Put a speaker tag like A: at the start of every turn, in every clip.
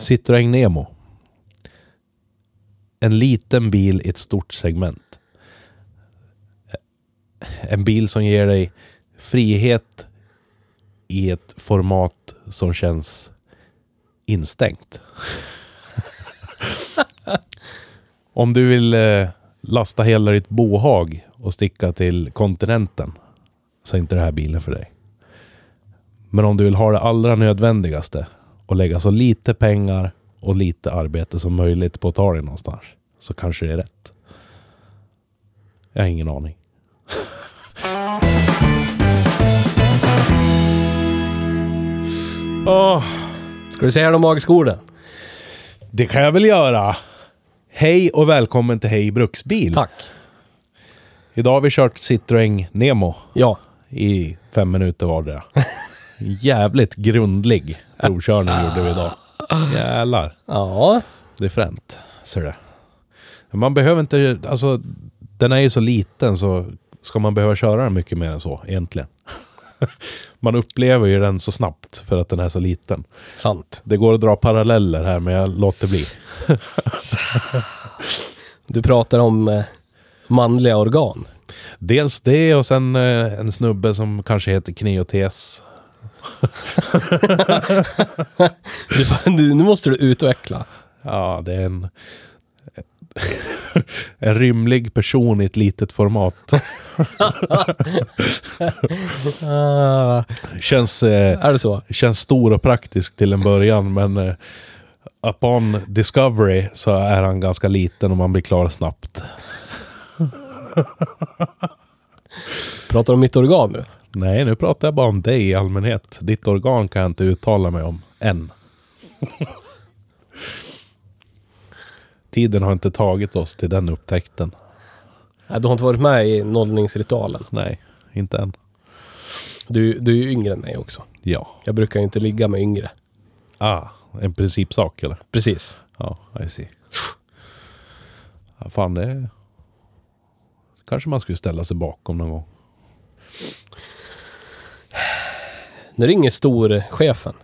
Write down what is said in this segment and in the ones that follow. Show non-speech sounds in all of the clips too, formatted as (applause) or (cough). A: Citroën Nemo. En liten bil i ett stort segment. En bil som ger dig frihet i ett format som känns instängt. (laughs) Om du vill eh, lasta hela ditt bohag och sticka till kontinenten så är inte det här bilen för dig. Men om du vill ha det allra nödvändigaste och lägga så lite pengar och lite arbete som möjligt på att ta dig någonstans så kanske det är rätt. Jag har ingen aning. (laughs) Åh,
B: Ska du säga de magiska orden?
A: det kan jag väl göra. Hej och välkommen till Hej Bruksbil.
B: Tack.
A: Idag har vi kört Citroën Nemo
B: Ja.
A: i fem minuter vardera. Jävligt grundlig provkörning gjorde vi idag. Jävlar.
B: Ja.
A: Det är fränt, ser du. Men Man behöver inte, alltså den är ju så liten så ska man behöva köra den mycket mer än så egentligen. (laughs) man upplever ju den så snabbt för att den är så liten.
B: Sant.
A: Det går att dra paralleller här men jag låter bli.
B: Du pratar om eh, manliga organ.
A: Dels det och sen eh, en snubbe som kanske heter Kniotes.
B: (laughs) Du, nu, nu måste du utveckla.
A: Ja, det är en... (laughs) en rymlig person i ett litet format.
B: Ah,
A: Känns... Eh,
B: är det så?
A: känns stor och praktisk till en början, men eh, upon discovery så är han ganska liten och man blir klar snabbt.
B: Pratar om mitt organ nu?
A: Nej, nu pratar jag bara om dig i allmänhet. Ditt organ kan jag inte uttala mig om än. (laughs) Tiden har inte tagit oss till den upptäckten.
B: Nej, du har inte varit med i nollningsritualen.
A: Nej, inte än.
B: Du, du är ju yngre än mig också.
A: Ja.
B: Jag brukar ju inte ligga med yngre.
A: Ah, en principsak eller?
B: Precis.
A: Ja, I see. Ja, fan, det... Kanske man skulle ställa sig bakom någon gång.
B: Nu ringer storchefen.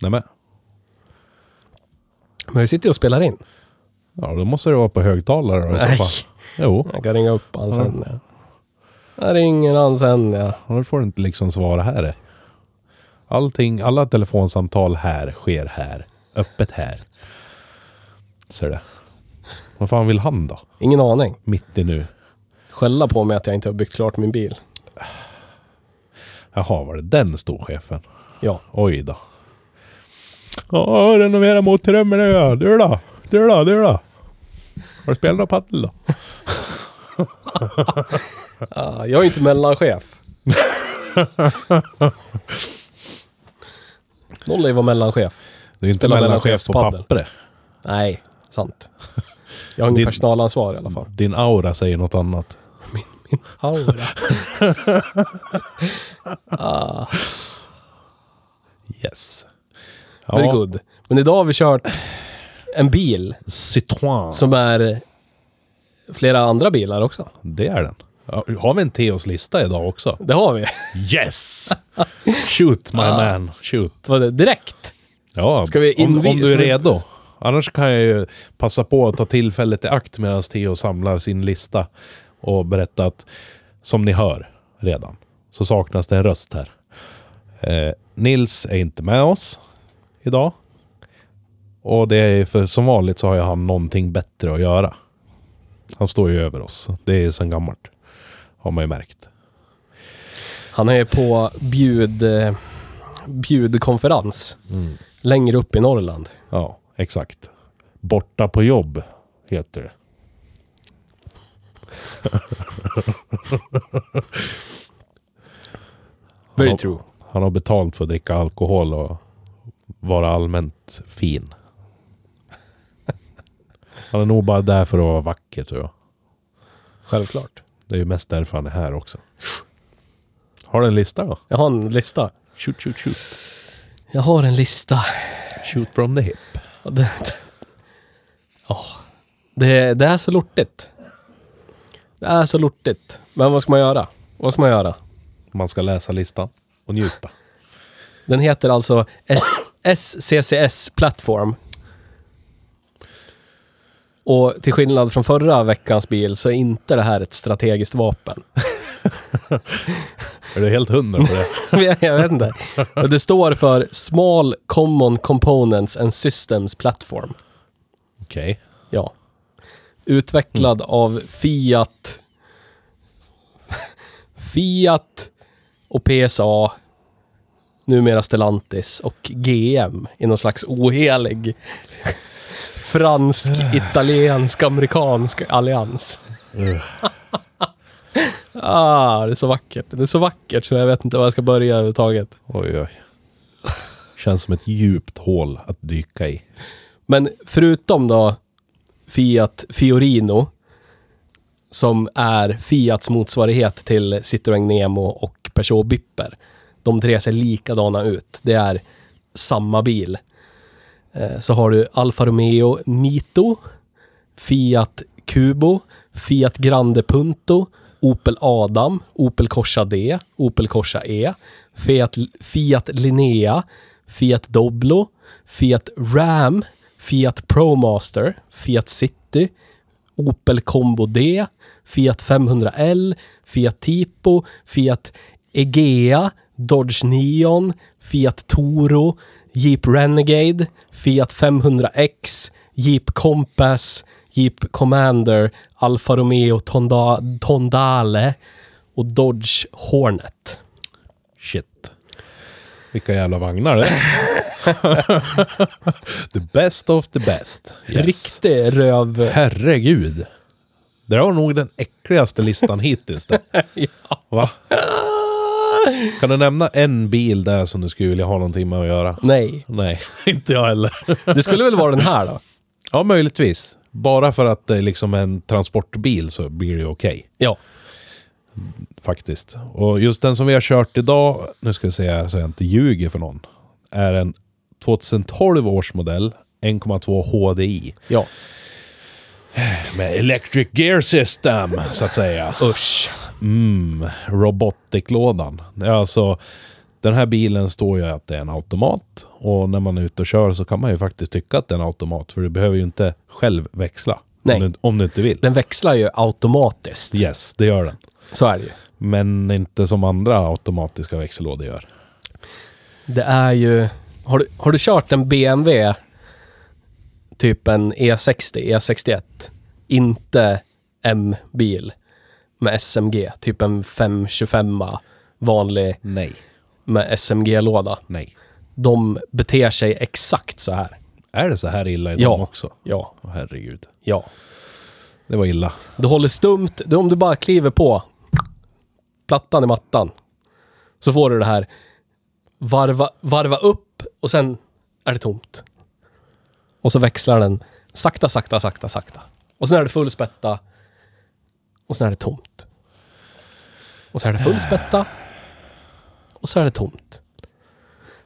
A: Nej, men.
B: Men vi sitter ju och spelar in.
A: Ja, då måste det vara på högtalare då, i så
B: Nej.
A: fall. Jo,
B: Jag kan ringa upp han sen. Ja. Jag ringer han sen ja.
A: då får du inte liksom svara här. Allting, alla telefonsamtal här sker här. Öppet här. Ser du? Vad fan vill han då?
B: Ingen aning.
A: Mitt i nu.
B: Skälla på mig att jag inte har byggt klart min bil.
A: Jaha, var det den storchefen?
B: Ja.
A: Oj då. Ja, renovera motorrummet nu Du då? Du då? Du då? Har du spelat något padel då?
B: Ah, jag är inte mellanchef. Noll är vara mellanchef.
A: Det är inte
B: Spelar
A: mellanchef på
B: mellanchefspadel.
A: pappret.
B: Nej, sant. Jag har ingen
A: Din-
B: personalansvar i alla fall.
A: Din aura säger något annat.
B: (laughs) Aura.
A: Yes.
B: Very good. Men idag har vi kört en bil
A: Citroën.
B: som är flera andra bilar också.
A: Det är den. Ja, Har vi en Theos lista idag också?
B: Det har vi. (laughs)
A: Yes! (laughs) Shoot my man, shoot.
B: Vad det- Direkt.
A: Ja,
B: Ska vi
A: om,
B: invi-
A: om du
B: ska
A: är
B: vi-
A: redo. Annars kan jag ju passa på att ta tillfället i akt medan Theo samlar sin lista och berätta att, som ni hör redan, så saknas det en röst här. Eh, Nils är inte med oss idag. Och det är för som vanligt så har ju han någonting bättre att göra. Han står ju över oss. Det är sen gammalt. Har man ju märkt.
B: Han är på bjud, eh, bjudkonferens längre upp i Norrland.
A: Ja, exakt. Borta på jobb heter det.
B: Very true.
A: Han har betalt för att dricka alkohol och vara allmänt fin. Han är nog bara där för att vara vacker tror jag.
B: Självklart.
A: Det är ju mest därför han är här också. Har du en lista då?
B: Jag har en lista.
A: Shoot, shoot, shoot.
B: Jag har en lista.
A: Shoot from the hip.
B: Ja, det, det, Ja. det, det är så lortigt. Det är så lortigt. Men vad ska man göra? Vad ska man göra?
A: Man ska läsa listan och njuta.
B: Den heter alltså S- SCCS Platform. Och till skillnad från förra veckans bil så är inte det här ett strategiskt vapen. (laughs)
A: Är du helt hundra (laughs) på det?
B: Jag jag vet inte. Och Det står för Small Common Components and Systems Platform.
A: Okej.
B: Ja. Utvecklad av Fiat. Fiat och PSA. Numera Stellantis och GM i någon slags ohelig fransk, italiensk, amerikansk allians.
A: Ugh.
B: (laughs) Ah, det är så vackert. Det är så vackert så jag vet inte var jag ska börja överhuvudtaget.
A: Oj, oj. Känns som ett djupt hål att dyka i.
B: Men förutom då Fiat Fiorino, som är Fiats motsvarighet till Citroën Nemo och Peugeot Bipper. De tre ser likadana ut. Det är samma bil. Eh, Så har du Alfa Romeo Mito, Fiat Cubo, Fiat Grande Punto, Opel Adam, Opel Corsa D, Opel Corsa E, Fiat, Fiat Linnea, Fiat Doblo, Fiat Ram, Fiat Promaster, Fiat City, Opel Combo D, Fiat 500L, Fiat Tipo, Fiat Egea, Dodge Neon, Fiat Toro, Jeep Renegade, Fiat 500X, Jeep Compass, Jeep Commander, Alfa Romeo Tonda- Tondale och Dodge Hornet.
A: Shit. Vilka jävla vagnar det är. (laughs) the best of the best. Yes.
B: Riktig
A: (laughs)
B: röv...
A: Herregud. Det där var nog den äckligaste listan hittills. Det.
B: ja.
A: Va? Kan du nämna en bil där som du skulle vilja ha någonting med att göra?
B: Nej.
A: Nej, (laughs) inte jag heller.
B: Det skulle väl vara den här då?
A: Ja, möjligtvis. Bara för att det är liksom en transportbil så blir det ju okej.
B: Ja.
A: faktiskt. Och just den som vi har kört idag, nu ska vi se här så jag inte ljuger för någon, är en 2012 års modell 1,2 HDI
B: Ja.
A: med Electric Gear System, så att säga.
B: Usch.
A: Mm, robotiklådan. Det är Alltså, den här bilen står ju att det är en automat och när man är ute och kör så kan man ju faktiskt tycka att det är en automat för du behöver ju inte själv växla.
B: Nej.
A: Om, du, om du inte vill.
B: Den växlar ju automatiskt.
A: Yes, det gör den.
B: Så är det ju.
A: Men inte som andra automatiska växellådor gör.
B: Det är ju... Har du, har du kört en BMW, typ en E60, E61, inte M-bil med SMG, typ en 525 vanlig
A: Nej.
B: med SMG-låda.
A: Nej.
B: De beter sig exakt så här.
A: Är det så här illa i
B: Ja.
A: dem också?
B: Ja,
A: Åh, herregud.
B: ja.
A: Det var illa.
B: Du håller stumt, du, om du bara kliver på plattan i mattan så får du det här varva, varva upp och sen är det tomt. Och så växlar den sakta, sakta, sakta, sakta. Och sen är det full spätta och sen är det tomt. Och så är det full spätta och så är det tomt.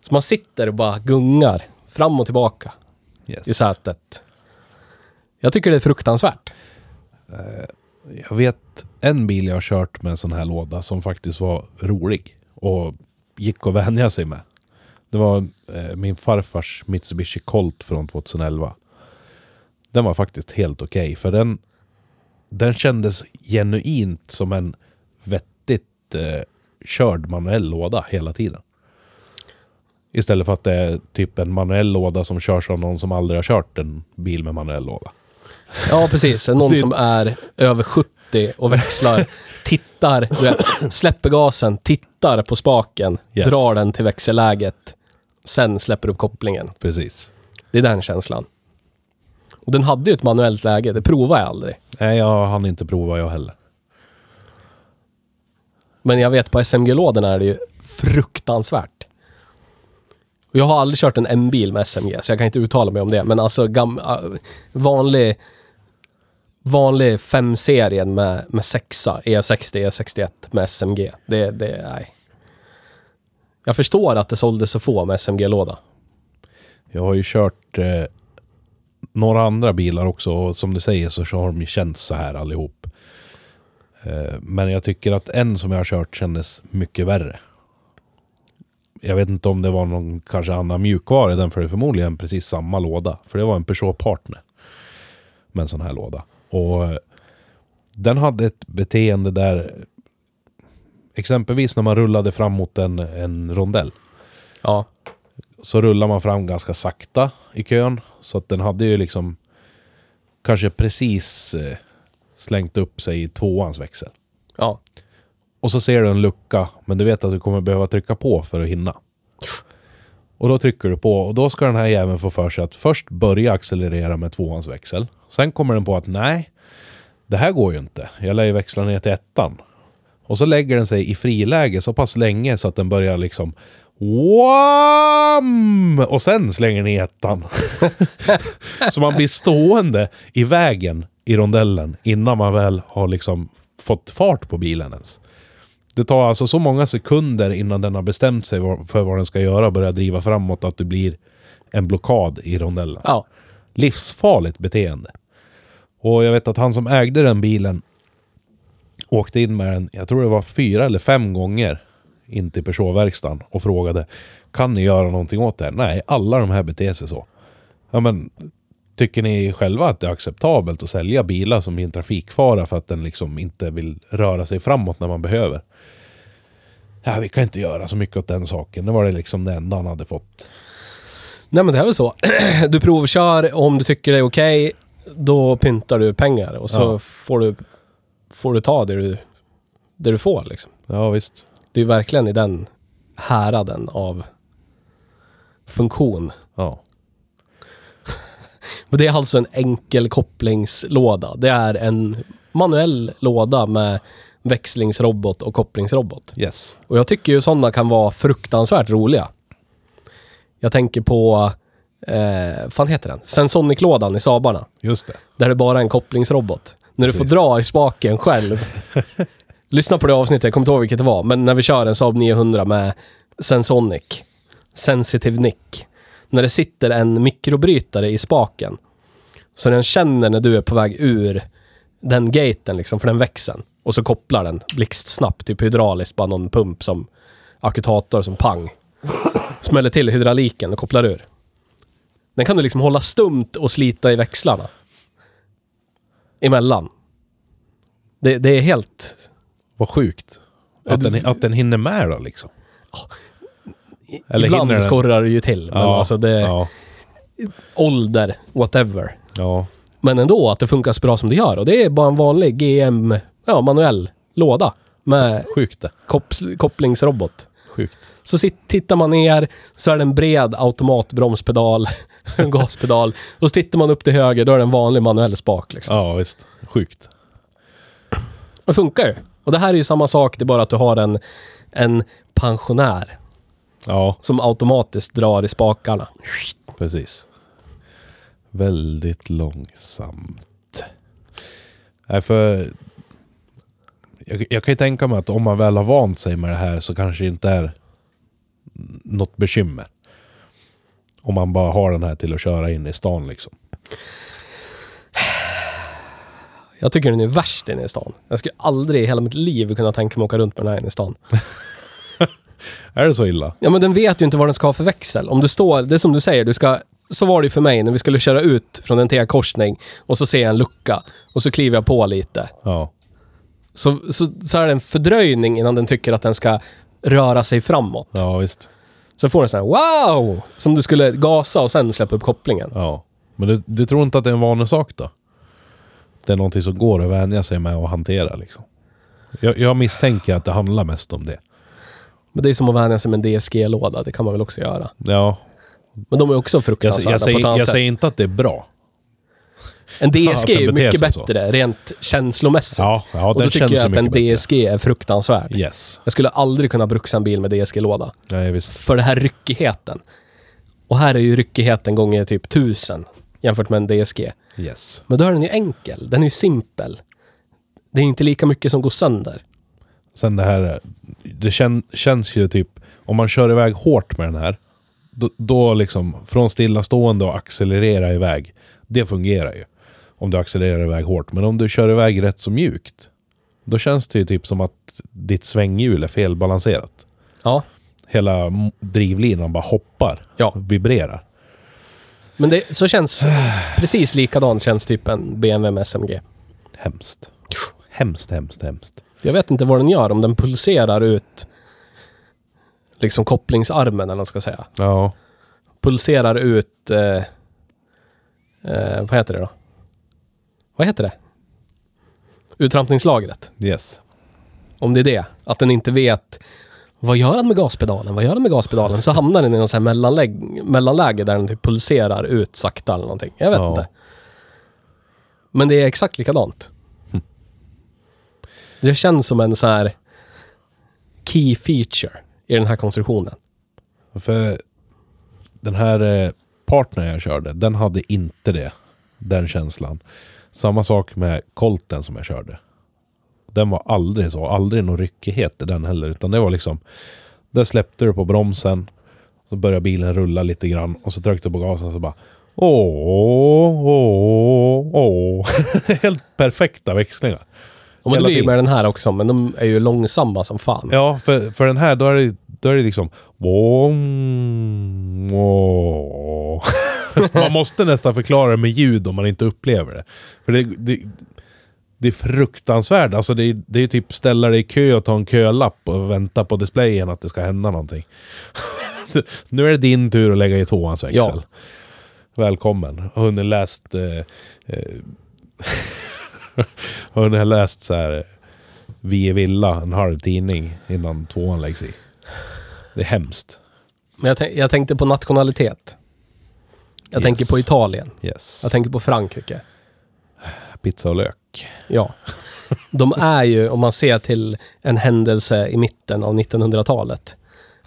B: Så man sitter och bara gungar fram och tillbaka
A: Yes.
B: i sätet. Jag tycker det är fruktansvärt.
A: Jag vet en bil jag har kört med en sån här låda som faktiskt var rolig och gick att vänja sig med. Det var eh, min farfars Mitsubishi Colt från 2011. Den var faktiskt helt okej för den, den kändes genuint som en vettigt eh, körd manuell låda hela tiden. Istället för att det är typ en manuell låda som körs av någon som aldrig har kört en bil med manuell låda.
B: Ja, precis. Någon
A: Det-
B: som är över 70 och växlar, tittar, du vet, släpper gasen, tittar på spaken,
A: Yes.
B: drar den till växelläget, sen släpper upp kopplingen.
A: Precis.
B: Det är den känslan. Och den hade ju ett manuellt läge, det provade jag aldrig.
A: Nej, jag hann inte prova jag heller.
B: Men jag vet på SMG-lådorna är det ju fruktansvärt. Och jag har aldrig kört en M-bil med SMG, så jag kan inte uttala mig om det. Men alltså gam, äh, vanlig, vanlig 5-serien med, med sexa, E E60, E61 med SMG. Det, det, nej. Jag förstår att det såldes så få med SMG-låda.
A: Jag har ju kört eh, några andra bilar också och som du säger så har de ju känts så här allihop. Eh, men jag tycker att en som jag har kört kändes mycket värre. Jag vet inte om det var någon kanske annan mjukvara i den för det är förmodligen precis samma låda. För det var en Peugeot Partner med en sån här låda. Och eh, den hade ett beteende där exempelvis när man rullade fram mot en, en rondell
B: Ja.
A: så rullar man fram ganska sakta i kön. Så att den hade ju liksom kanske precis eh, slängt upp sig i tvåans växel.
B: Ja.
A: Och så ser du en lucka, men du vet att du kommer behöva trycka på för att hinna. Och då trycker du på och då ska den här jäveln få för sig att först börja accelerera med tvåans växel. Sen kommer den på att nej, det här går ju inte. Jag lär ju växla ner till ettan. Och så lägger den sig i friläge så pass länge så att den börjar liksom Wham! Och sen slänger den i ettan. (laughs) så man blir stående i vägen i rondellen innan man väl har liksom fått fart på bilen ens. Det tar alltså så många sekunder innan den har bestämt sig vad- för vad den ska göra och börjar driva framåt att det blir en blockad i rondellen.
B: Ja.
A: Livsfarligt beteende. Och jag vet att han som ägde den bilen åkte in med den, jag tror det var fyra eller fem gånger in till Peugeot-verkstaden och frågade Kan ni göra någonting åt det här? Nej, alla de här beter sig så. Ja, men tycker ni själva att det är acceptabelt att sälja bilar som är en trafikfara för att den liksom inte vill röra sig framåt när man behöver? Ja, vi kan inte göra så mycket åt den saken. Det var det liksom det enda han hade fått.
B: Nej men det är väl så. (clears throat) Du provkör, om du tycker det är okej, då pyntar du pengar och så
A: Ja.
B: får, du, får du ta det du, det du får liksom.
A: Ja, visst.
B: Det är verkligen i den häraden av funktion.
A: Ja.
B: Men det är alltså en enkel kopplingslåda. Det är en manuell låda med växlingsrobot och kopplingsrobot.
A: Yes.
B: Och jag tycker ju sådana kan vara fruktansvärt roliga. Jag tänker på, eh, fan heter den? Sensonic-lådan i Sabarna.
A: Just det.
B: Där det bara är en kopplingsrobot. När du får
A: Precis.
B: dra i spaken själv. Lyssna på det avsnittet, jag kommer inte ihåg vilket det var, men när vi kör en Saab 900 med Sensonic, Sensitive Nick. När det sitter en mikrobrytare i spaken. Så den känner när du är på väg ur den gaten, liksom, för den växeln. Och så kopplar den blixtsnabbt, typ hydrauliskt, bara någon pump som akutator som pang. Smäller till hydrauliken och kopplar ur. Den kan du liksom hålla stumt och slita i växlarna. Emellan. Det, det är helt...
A: Vad sjukt. Att den, att den hinner med då liksom. Eller
B: ibland
A: hinner den?
B: skorrar det ju till. Men alltså det...
A: ja,
B: Ålder, whatever.
A: ja.
B: Men ändå att det funkar så bra som det gör. Och det är bara en vanlig GM, ja, manuell låda. Med
A: Sjukt det.
B: kops- kopplingsrobot.
A: Sjukt.
B: Så sit, tittar man ner så är det en bred automatbromspedal, (laughs) en gaspedal. Och så tittar man upp till höger, då är det en vanlig manuell spak. Liksom.
A: Ja, visst. Sjukt.
B: Det funkar ju. Och det här är ju samma sak, det är bara att du har en, en pensionär
A: Ja,
B: som automatiskt drar i spakarna.
A: precis. Väldigt långsamt. Nej, för... Jag, jag kan ju tänka mig att om man väl har vant sig med det här så kanske det inte är något bekymmer. Om man bara har den här till att köra in i stan liksom.
B: Jag tycker den är värst inne i stan. Jag skulle aldrig i hela mitt liv kunna tänka mig att åka runt med den här inne i stan.
A: Är det så illa?
B: Ja, men den vet ju inte vad den ska ha för växel. Om du står, det är som du säger, du ska, så var det ju för mig när vi skulle köra ut från en T-korsning och så ser jag en lucka och så kliver jag på lite.
A: Ja.
B: Så, så, så är det en fördröjning innan den tycker att den ska röra sig framåt.
A: Ja, visst.
B: Så får den så här wow! Som du skulle gasa och sen släppa upp kopplingen.
A: Ja. Men du, du tror inte att det är en vanlig sak då? Det är någonting som går att vänja sig med och hantera liksom. Jag, jag misstänker att det handlar mest om det.
B: Men det är som att vänja sig med en DSG-låda, det kan man väl också göra.
A: Ja.
B: Men de är också
A: Jag,
B: fruktansvärda
A: jag,
B: på ett
A: säger,
B: annat
A: jag
B: Alltså, sätt.
A: säger inte att det är bra.
B: En
A: att
B: DSG
A: den
B: är ju
A: beter
B: mycket
A: sig så.
B: bättre, rent känslomässigt.
A: Ja, ja
B: och då
A: den
B: tycker
A: känns
B: jag
A: ju
B: att en
A: mycket bättre.
B: DSG är fruktansvärd.
A: Yes.
B: Jag skulle aldrig kunna bruxa en bil med DSG-låda.
A: Nej, visst.
B: För den här ryckigheten. Och här är ju ryckigheten gånger typ tusen jämfört med en DSG.
A: Yes.
B: Men då är den ju enkel. Den är ju simpel. Det är inte lika mycket som går sönder.
A: Sen det här, det kän, känns ju typ, om man kör iväg hårt med den här, då, då liksom, från stillastående och accelerera iväg, det fungerar ju. Om du accelererar iväg hårt. Men om du kör iväg rätt så mjukt, då känns det ju typ som att ditt svänghjul är felbalanserat.
B: Ja.
A: Hela m- drivlinan bara hoppar,
B: Ja.
A: vibrerar.
B: Men det,
A: (sighs)
B: så känns precis likadan känns typ en BMW med SMG.
A: Hemskt. Hemskt, hemskt, hemskt.
B: Jag vet inte vad den gör, om den pulserar ut liksom kopplingsarmen eller vad man ska säga.
A: Ja.
B: Pulserar ut... Eh, eh, vad heter det då? Vad heter det? Uttrampningslagret.
A: Yes.
B: Om det är det. Att den inte vet vad gör den med gaspedalen? Vad gör den med gaspedalen? Så hamnar den i någon sån här mellanläge, mellanläge där den typ pulserar ut sakta eller någonting. Jag vet
A: Ja.
B: inte. Men det är exakt likadant.
A: Hm.
B: Det känns som en sån här key feature i den här konstruktionen.
A: För den här eh, partnern jag körde, den hade inte det. Den känslan. Samma sak med kolten som jag körde. Den var aldrig så, aldrig någon ryckighet i den heller. Utan det var liksom, där släppte du på bromsen. Så började bilen rulla lite grann och så tryckte du på gasen så bara Åh, åh, åh. (laughs) Helt perfekta växlingar.
B: Och men det
A: Hela
B: blir ju
A: tiden.
B: med den här också, men de är ju långsamma som fan.
A: Ja, för, för den här då är det, då är det liksom... Wom, wom. (laughs) man måste nästan förklara det med ljud om man inte upplever det. För det, det, det är fruktansvärt. Alltså det, är- det är typ ställa dig i kö och ta en kölapp och vänta på displayen att det ska hända någonting. (laughs) nu är det din tur att lägga i tvåans växel.
B: Ja.
A: Välkommen. Har Hunnit läst... Eh, eh, (laughs) har hunnit läst så här... eh, vi är Villa, en halv tidning innan tvåan läggs i. Det är hemskt.
B: Men jag, tänk, jag tänkte på nationalitet. Jag
A: Yes.
B: tänker på Italien.
A: Yes.
B: Jag tänker på Frankrike.
A: Pizza och lök.
B: Ja. De är ju, om man ser till en händelse i mitten av 1900-talet,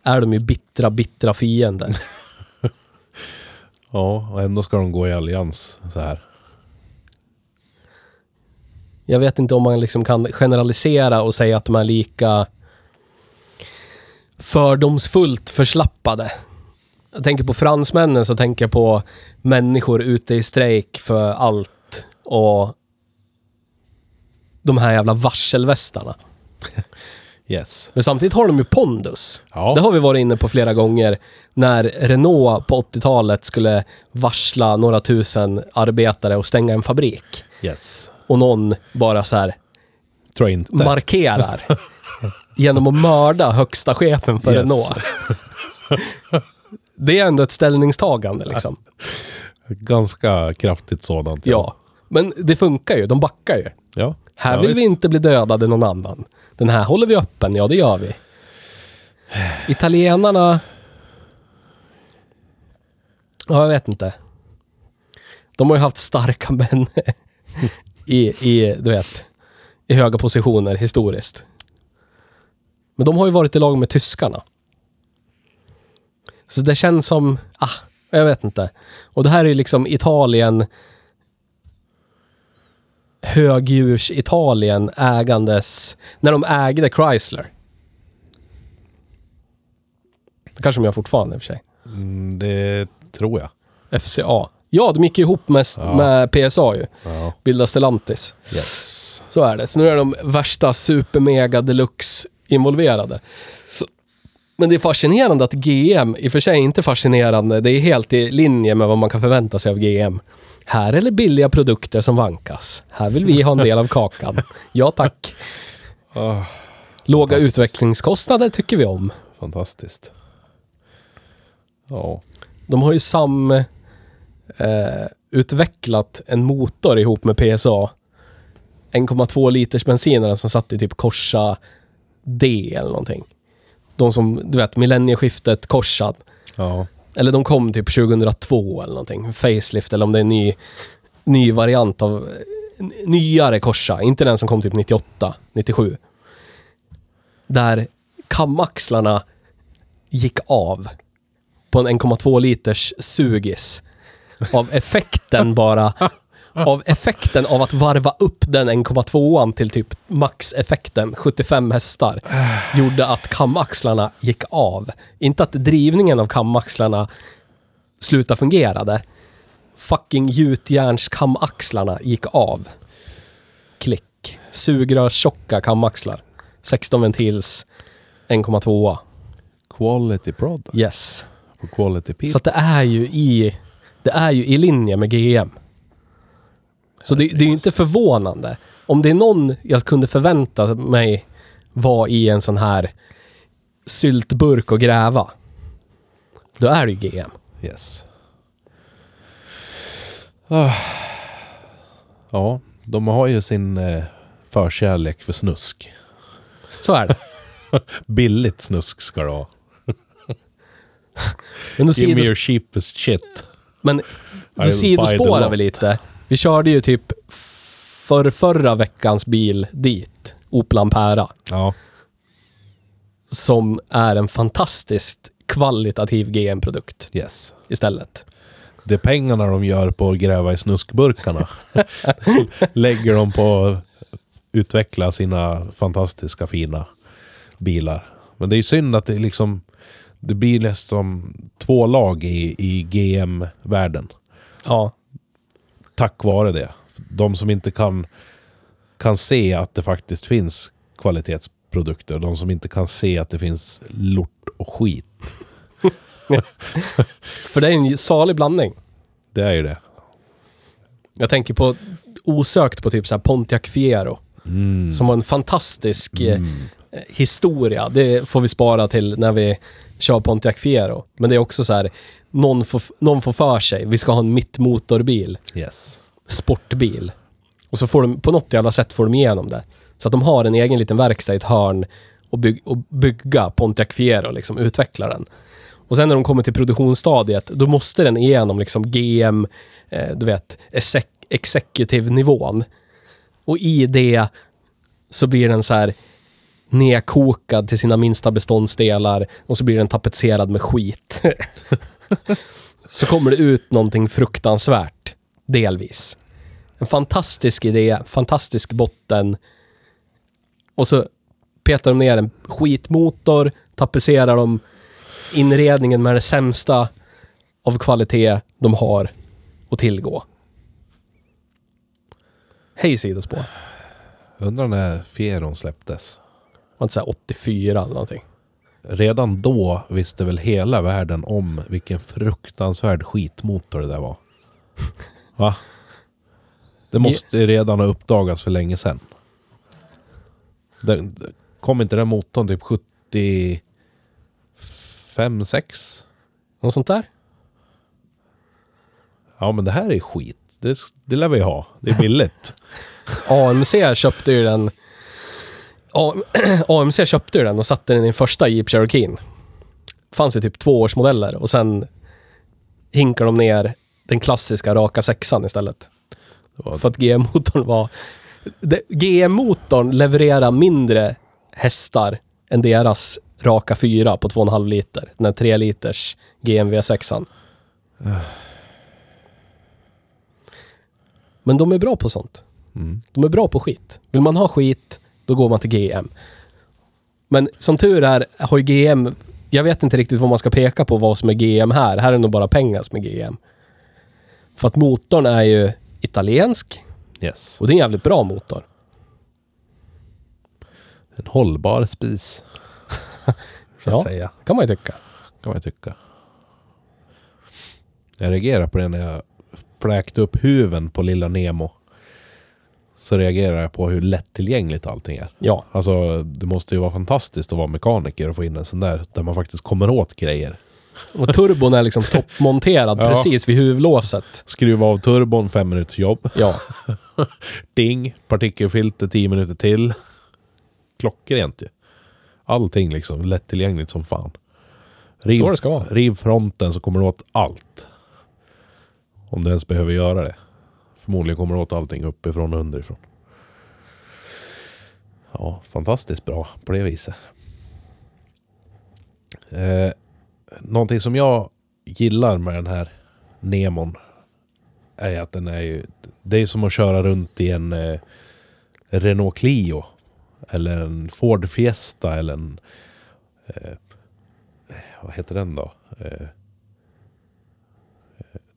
B: är de ju bittra, bittra fiender.
A: Ja, och ändå ska de gå i allians så här.
B: Jag vet inte om man liksom kan generalisera och säga att de är lika fördomsfullt förslappade. Jag tänker på fransmännen, så tänker jag på människor ute i strejk för allt och de här jävla varselvästarna.
A: Yes.
B: Men samtidigt har de ju pondus.
A: Ja.
B: Det har vi varit inne på flera gånger. När Renault på 80-talet skulle varsla några tusen arbetare och stänga en fabrik.
A: Yes.
B: Och någon bara så här
A: Tror jag inte.
B: markerar. genom att mörda högsta chefen för
A: Yes.
B: Renault. Det är ändå ett ställningstagande liksom.
A: Ganska kraftigt sådant.
B: Ja. Men det funkar ju, de backar ju.
A: ja.
B: Här
A: ja,
B: vill vi
A: visst.
B: inte bli dödade någon annan. Den här håller vi öppen, ja det gör vi. Italienarna... Ja, jag vet inte. De har ju haft starka män (laughs) i, i, du vet, i höga positioner historiskt. Men de har ju varit i lag med tyskarna. Så det känns som, ah, jag vet inte. Och det här är ju liksom Italien, högdjurs-Italien ägandes, när de ägde Chrysler. Det kanske de gör fortfarande i och för sig.
A: Mm, det tror jag.
B: FCA. Ja, de gick ihop med, med PSA ju.
A: Ja.
B: Bildade Stellantis.
A: Yes.
B: Så är det. Så nu är de värsta super-mega deluxe involverade. Så- Men det är fascinerande att GM, i och för sig inte fascinerande, det är helt i linje med vad man kan förvänta sig av GM. Här är det billiga produkter som vankas. Här vill vi ha en del av kakan. Ja tack.
A: Ah,
B: Låga
A: Fantastiskt.
B: utvecklingskostnader tycker vi om.
A: fantastiskt. Ja.
B: De har ju sam eh, utvecklat en motor ihop med PSA. 1,2 liters bensinaren som satt i typ Corsa D eller någonting. De som, du vet, millennieskiftet, korsad.
A: Ja.
B: Eller de kom typ 2002 eller någonting. Facelift eller om det är en ny ny variant av... n- Nyare Corsa, inte den som kom typ 98, 97. Där kamaxlarna gick av på en 1,2 liters sugis. Av effekten bara. (laughs) Av effekten av att varva upp den 1,2an till typ maxeffekten, 75 hästar, gjorde att kamaxlarna gick av. Inte att drivningen av kamaxlarna slutade fungerade. Fucking gjutjärnskamaxlarna gick av. Klick. Sugrörstjocka kamaxlar. 16 ventils 1,2.
A: Quality product.
B: Yes.
A: For quality people.
B: Så att det är ju i... Det är ju i linje med GM. Så det, det är ju inte förvånande. Om det är någon jag kunde förvänta mig var i en sån här syltburk och gräva. Då är det ju GM.
A: Yes. Ah. Ja, de har ju sin eh, förkärlek för snusk.
B: Så är det.
A: Billigt snusk ska det vara.
B: Men då
A: Give me
B: sidos,
A: your cheapest shit.
B: men
A: I
B: då
A: buy the
B: sidospårar
A: lot.
B: vi lite. Vi körde ju typ för förra veckans bil dit, Opel Ampera.
A: Ja, som
B: som är en fantastiskt kvalitativ GM-produkt
A: yes.
B: istället.
A: Det pengarna de gör på att gräva i snuskburkarna (laughs) lägger de på att utveckla sina fantastiska fina bilar. Men det är ju synd att det liksom det blir nästan två lag i, i GM-världen.
B: Ja.
A: tack vare det. De som inte kan, kan se att det faktiskt finns kvalitetsprodukter. De som inte kan se att det finns lort och skit.
B: För det är en salig blandning.
A: Det är ju det.
B: Jag tänker på osökt på typ så här Pontiac Fiero. Som har en fantastisk eh, eh, historia. Det får vi spara till när vi kör Pontiac Fiero. Men det är också så här, någon får, någon får för sig, vi ska ha en mittmotorbil.
A: Yes.
B: sportbil. Och så får de, på något jävla sätt får de igenom det. Så att de har en egen liten verkstad i ett hörn och, byg, och bygga Pontiac Fiero, liksom utveckla den. Och sen när de kommer till produktionsstadiet, då måste den igenom liksom GM, eh, du vet, exec, executive nivån. Och i det så blir den så här nedkokad till sina minsta beståndsdelar och så blir den tapetserad med skit. (laughs) så kommer det ut någonting fruktansvärt, delvis. En fantastisk idé, fantastisk botten. Och så petar de ner en skitmotor, tapetserar de inredningen med det sämsta av kvalitet de har att tillgå. Hej sidospår.
A: Undrar när Fieron släpptes.
B: Var inte såhär 84 eller någonting?
A: Redan då visste väl hela världen om vilken fruktansvärd skitmotor det där var. Va? Det måste ju redan ha uppdagats för länge sedan. Den, kom inte den motorn typ 75, 6?
B: Något sånt där?
A: Ja, men det här är skit. Det, det lär vi ha. Det är billigt.
B: AMC köpte ju den... A- (clears throat) AMC köpte ju den och satte den i den första Jeep Cherokee. fanns ju typ tvåårsmodeller och sen hinkar de ner den klassiska raka sexan istället.
A: var-
B: För att GM-motorn var... Det- GM-motorn levererar mindre hästar än deras raka fyra på 2,5 liter. Den här 3 liters GMV 6 Men de är bra på sånt. De är bra på skit. Vill man ha skit, då går man till GM. Men som tur är har ju GM, jag vet inte riktigt vad man ska peka på vad som är GM här. Här är det nog bara pengar som är GM. För att motorn är ju italiensk
A: Yes.
B: och det är en jävligt bra motor.
A: En hållbar spis. Så att
B: Ja.
A: säga,
B: kan man ju tycka.
A: kan man ju tycka. Jag reagerade på det när jag fläkte upp huven på lilla Nemo. Så reagerar jag på hur lättillgängligt allting är.
B: Ja.
A: Alltså, det måste ju vara fantastiskt att vara mekaniker och få in en sån där, där man faktiskt kommer åt grejer.
B: Och turbon är liksom toppmonterad
A: Ja.
B: precis vid huvudlåset.
A: Skruva av turbon, fem minuters jobb.
B: Ja.
A: Ding, partikelfilter 10 minuter till. Klockrent ju. Allting liksom lättillgängligt som fan. Riv,
B: Så det ska vara.
A: riv fronten så kommer du åt allt. Om du ens behöver göra det. Förmodligen kommer åt allting uppifrån och underifrån. Ja, fantastiskt bra på det viset. Eh, någonting som jag gillar med den här Nemon är att den är ju... Det är som att köra runt i en eh, Renault Clio. Eller en Ford Fiesta eller en... Eh, vad heter den då? Eh,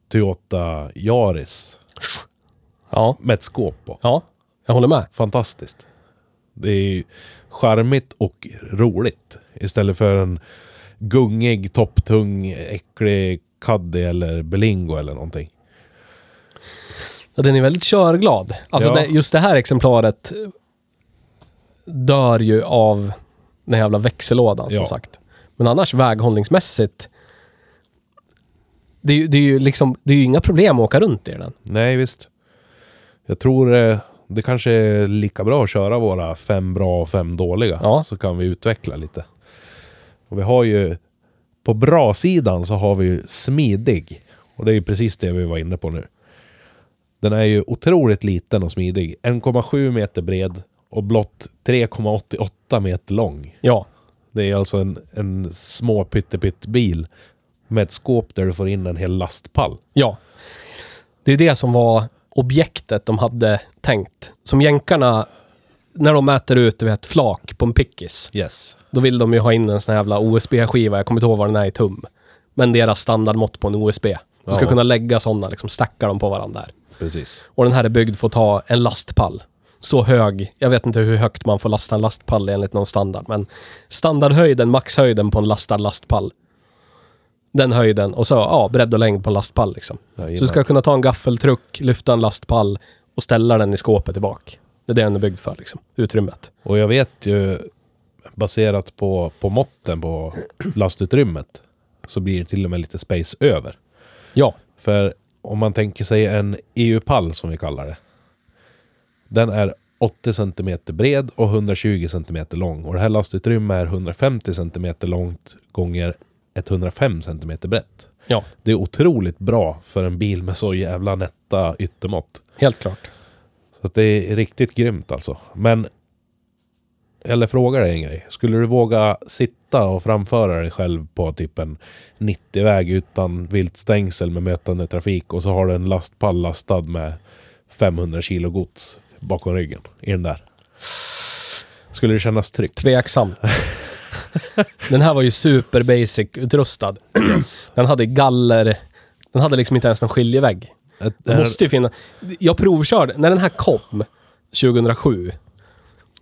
A: Toyota Yaris
B: Ja,
A: med ett skåp på.
B: ja. Jag håller med.
A: Fantastiskt. Det är ju charmigt och roligt. Istället för en gungig, topptung, äcklig Caddy eller Belingo eller någonting.
B: Ja, den är väldigt körglad. Alltså
A: Ja.
B: det, just det här exemplaret eh, dör ju av den här jävla växellådan som
A: Ja.
B: sagt. Men annars väghållningsmässigt. Det, är ju- det är ju liksom, det är ju inga problem att åka runt i den.
A: Nej, visst. Jag tror eh, det kanske är lika bra att köra våra fem bra och fem dåliga.
B: Ja.
A: Så kan vi utveckla lite. Och vi har ju... På bra-sidan så har vi ju smidig. Och det är ju precis det vi var inne på nu. Den är ju otroligt liten och smidig. 1,7 meter bred och blott 3,88 meter lång.
B: Ja,
A: Det är alltså en, en små pyttepytt bil med ett skåp där du får in en hel lastpall.
B: ja. Det är det som var objektet de hade tänkt. Som jänkarna, när de mäter ut du vet, flak på en pickis.
A: Yes.
B: Då vill de ju ha in en sån här jävla OSB-skiva. Jag kommer inte ihåg vad den är i tum. Men deras standardmått på en OSB. Du ska
A: Ja.
B: kunna lägga sådana, liksom stacka dem på varandra där.
A: Precis.
B: Och den här är byggd för att ta en lastpall. Så hög, jag vet inte hur högt man får lasta en lastpall enligt någon standard, men standardhöjden, maxhöjden på en lastad lastpall. Den höjden och så, ja, bredd och längd på en lastpall liksom.
A: Jajamän.
B: Så du ska kunna ta en gaffeltruck, lyfta en lastpall och ställa den i skåpet tillbaka. Det är det den är byggd för liksom, utrymmet.
A: Och jag vet ju baserat på, på måtten på lastutrymmet så blir det till och med lite space över.
B: Ja,
A: För om man tänker sig en EU-pall som vi kallar det. Den är 80 cm bred och 120 cm lång. Och det här lastutrymmet är 150 cm långt gånger 105 cm brett.
B: ja,
A: Det är otroligt bra för en bil med så jävla nätta yttermått.
B: helt klart.
A: Så att det är riktigt grymt alltså. Men... Eller fråga dig en grej. Skulle du våga sitta och framföra dig själv på typ en 90-väg utan viltstängsel med mötande trafik och så har du en lastpall lastad med 500 kilo gods bakom ryggen i den där? Skulle det kännas tryggt?
B: Tveksam. den här var ju super basic utrustad.
A: Yes.
B: Den hade galler. Den hade liksom inte ens någon skiljevägg.
A: Ett,
B: Det måste ju finnas. Jag provkörde. När den här kom 2007.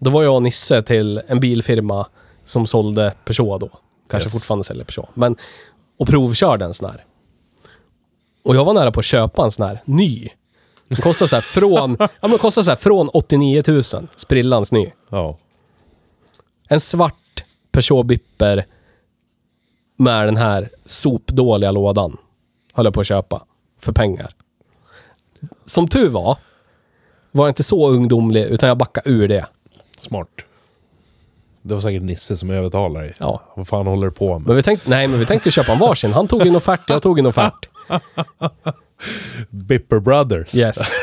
B: Då var jag och Nisse till en bilfirma som sålde Peugeot då. Kanske
A: Yes.
B: fortfarande säljer Peugeot. Men, och provkörde en sån här. Och jag var nära på att köpa en sån här ny. Den kostar så här från, ja, men den kostar så här från 89 000. Sprillans ny.
A: Ja.
B: En svart Peugeot Bipper med den här sopdåliga lådan. Höll jag på att köpa. För pengar. Som tur var, var jag inte så ungdomlig, utan jag backade ur det.
A: Smart. Det var säkert Nisse som övertalade dig.
B: Ja.
A: Vad fan håller du på med?
B: Men vi tänkte, nej, men vi tänkte ju köpa en varsin. Han tog en offert, jag tog en offert.
A: Bipper Brothers.
B: Yes.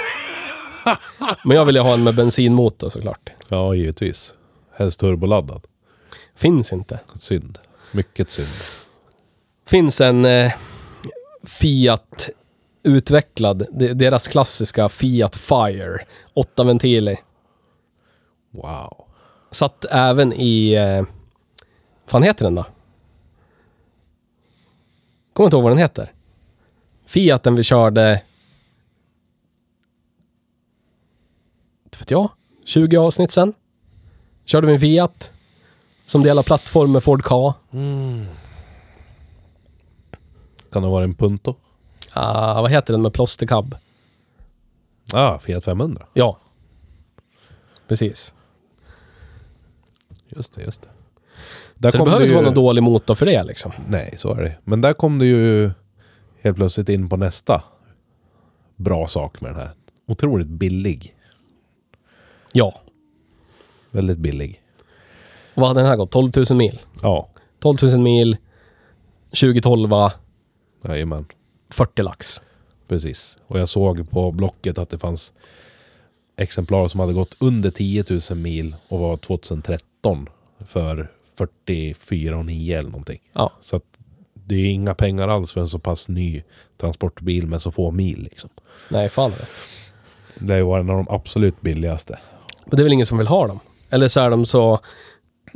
B: Men jag ville ha en med bensinmotor såklart.
A: Ja, givetvis. Helst turboladdad.
B: Finns inte.
A: Synd. Mycket synd.
B: finns en eh, Fiat utvecklad, de- deras klassiska Fiat Fire. Åtta ventiler.
A: Wow.
B: Satt även i... Eh, vad fan heter den då? Kommer inte ihåg vad den heter. Fiaten vi körde... Inte vet jag. 20 avsnitt sen. Körde vi en Fiat. Som delar plattform med Ford Ka.
A: Kan det vara en Punto?
B: Ah, vad heter den med plåstercab?
A: Ah, Fiat 500.
B: Ja. Precis.
A: Just det, just det. Där
B: så det
A: kom
B: behöver
A: du
B: inte
A: ju...
B: vara någon dålig motor för det liksom.
A: Nej, så är det. Men där kom du ju helt plötsligt in på nästa bra sak med den här. Otroligt billig.
B: Ja.
A: Väldigt billig.
B: Och vad hade den här gått? 12 000 mil?
A: Ja,
B: 12 000 mil, 2012,
A: jajamän.
B: 40 lax.
A: precis. Och jag såg på Blocket att det fanns exemplar som hade gått under 10 000 mil och var 2013 för 44 900 eller någonting.
B: Ja.
A: Så att det är inga pengar alls för en så pass ny transportbil med så få mil. Liksom.
B: Nej, fan. nej.
A: Det har ju varit en av de absolut billigaste.
B: Men det är väl ingen som vill ha dem? Eller så är de så...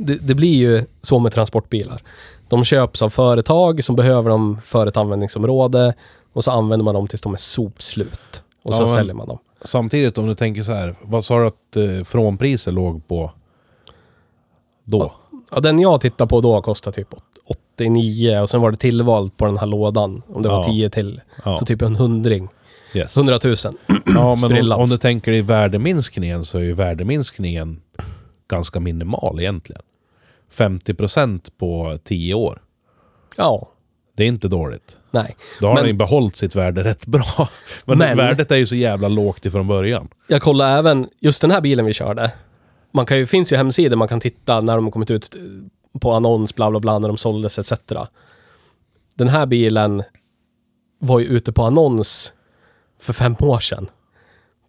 B: Det, det blir ju så med transportbilar. De köps av företag som behöver dem för ett användningsområde och så använder man dem tills de är sopslut. Och så
A: Ja, men-
B: säljer man dem.
A: Samtidigt om du tänker så här, vad sa du att eh, frånpriser låg på då?
B: Ja, den jag tittade på då kostade typ åt- 89 och sen var det tillval på den här lådan. Om det var
A: Ja.
B: 10 till.
A: Ja,
B: Så typ en hundring.
A: yes.
B: 100 000.
A: ja men om,
B: sprillans.
A: om du tänker i värdeminskningen så är ju värdeminskningen ganska minimal egentligen. 50% på 10 år.
B: (clears throat) Ja,
A: Det är inte dåligt.
B: nej.
A: Då har
B: Men-
A: den ju behållit sitt värde rätt bra. (laughs) Men,
B: Men-
A: värdet är ju så jävla lågt ifrån början.
B: Jag kollade även, just den här bilen vi körde. Man kan ju, finns ju hemsidor man kan titta när de har kommit ut på annons, bla bla bla, när de såldes etc. Den här bilen var ju ute på annons för fem år sedan.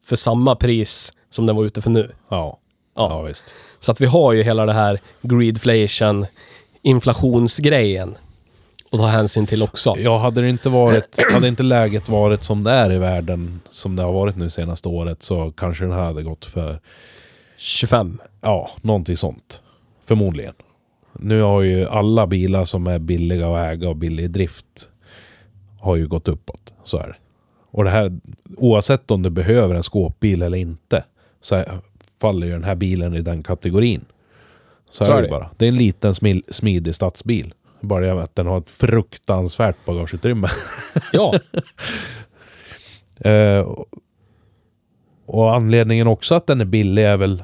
B: För samma pris som den var ute för nu.
A: Ja, ja.
B: Ja.
A: visst.
B: Så att vi har ju hela det här greedflation, inflationsgrejen att ta hänsyn till också.
A: Ja, hade det inte varit, hade inte läget varit som det är i världen, som det har varit nu senaste året, så kanske den här hade gått för
B: 25.
A: Ja, någonting sånt. Förmodligen. Nu har ju alla bilar som är billiga att äga och billig i drift har ju gått uppåt. Så är det. Och det här, oavsett om du behöver en skåpbil eller inte, så är, faller ju den här bilen i den kategorin. Så, är det, bara. Det är en liten smil, smidig stadsbil. Bara det att den har ett fruktansvärt bagageutrymme. (laughs)
B: Ja,
A: Eh, och anledningen också att den är billig är väl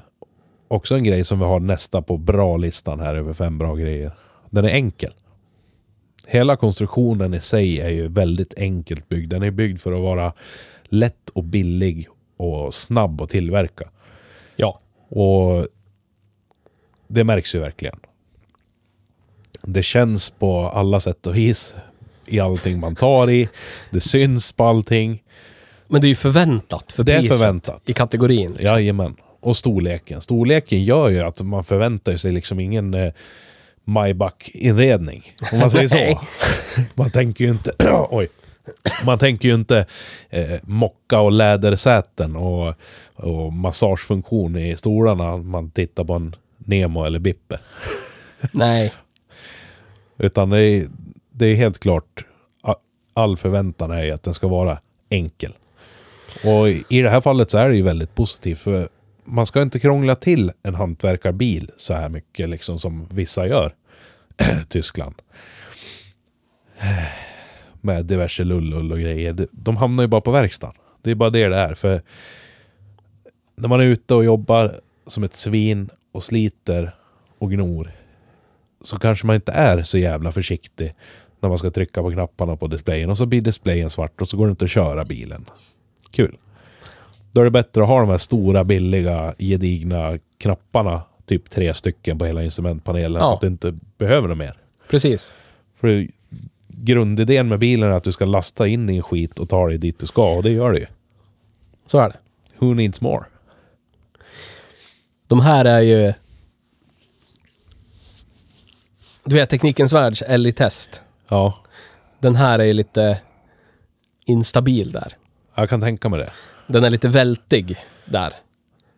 A: också en grej som vi har nästa på bra-listan här över fem bra grejer. Den är enkel. Hela konstruktionen i sig är ju väldigt enkelt byggd. Den är byggd för att vara lätt och billig och snabb att tillverka.
B: ja.
A: Och det märks ju verkligen. Det känns på alla sätt och vis. I allting man tar i. Det syns på allting.
B: Men det är ju förväntat för
A: Det är
B: priset
A: förväntat.
B: i kategorin. liksom.
A: Jajamän. Och storleken. Storleken gör ju att man förväntar sig liksom ingen eh, Maybach-inredning. Om man säger
B: Nej.
A: så. (laughs) Man tänker ju inte... (clears throat) oj. Man tänker ju inte eh, mocka och lädersäten och, och massagefunktion i stolarna. om Man tittar på en Nemo eller Bippe.
B: Nej.
A: Utan det är, det är helt klart, a- all förväntan är ju att den ska vara enkel. Och i i det här fallet så är det ju väldigt positivt, för man ska inte krångla till en hantverkarbil så här mycket, liksom som vissa gör. (clears throat) Tyskland. Med diverse lullull och grejer. De- De hamnar ju bara på verkstaden. Det är bara det det är, för när man är ute och jobbar som ett svin och sliter och gnor så kanske man inte är så jävla försiktig när man ska trycka på knapparna på displayen och så blir displayen svart och så går det inte att köra bilen. Kul. Då är det bättre att ha de här stora, billiga, gedigna knapparna. Typ tre stycken på hela instrumentpanelen.
B: Ja.
A: Så att du inte behöver dem mer.
B: Precis.
A: För det- grundidén med bilen är att du ska lasta in din skit och ta dig dit du ska. Och det gör du ju.
B: Så är det.
A: Who needs more?
B: De här är ju... Du vet Teknikens Världs LI-test.
A: Ja,
B: Den här är ju lite instabil där.
A: jag kan tänka mig det.
B: Den är lite vältig där.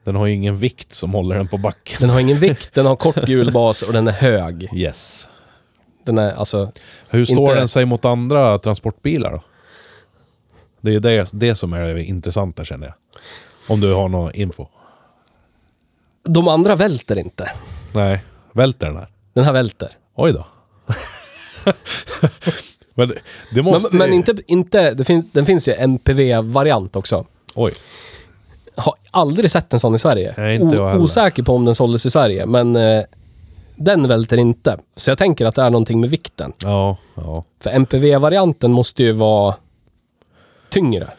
A: Den har ju ingen vikt som håller den på backen.
B: Den har ingen vikt, den har kort hjulbas och den är hög.
A: Yes.
B: Den är alltså...
A: Hur står
B: Inte-
A: den sig mot andra transportbilar då? Det är ju det, det som är det intressanta känner jag. Om du har någon info.
B: De andra välter inte.
A: Nej, välter den här?
B: Den här välter.
A: Oj då. (laughs) men det
B: Men,
A: måste
B: men
A: ju-
B: inte... inte det finns, den finns ju MPV-variant också.
A: Oj.
B: Har aldrig sett en sån i Sverige.
A: Nej, inte jag heller.
B: osäker på om den såldes i Sverige, men eh, den välter inte. Så jag tänker att det är någonting med vikten.
A: Ja, ja.
B: För MPV-varianten måste ju vara tyngre.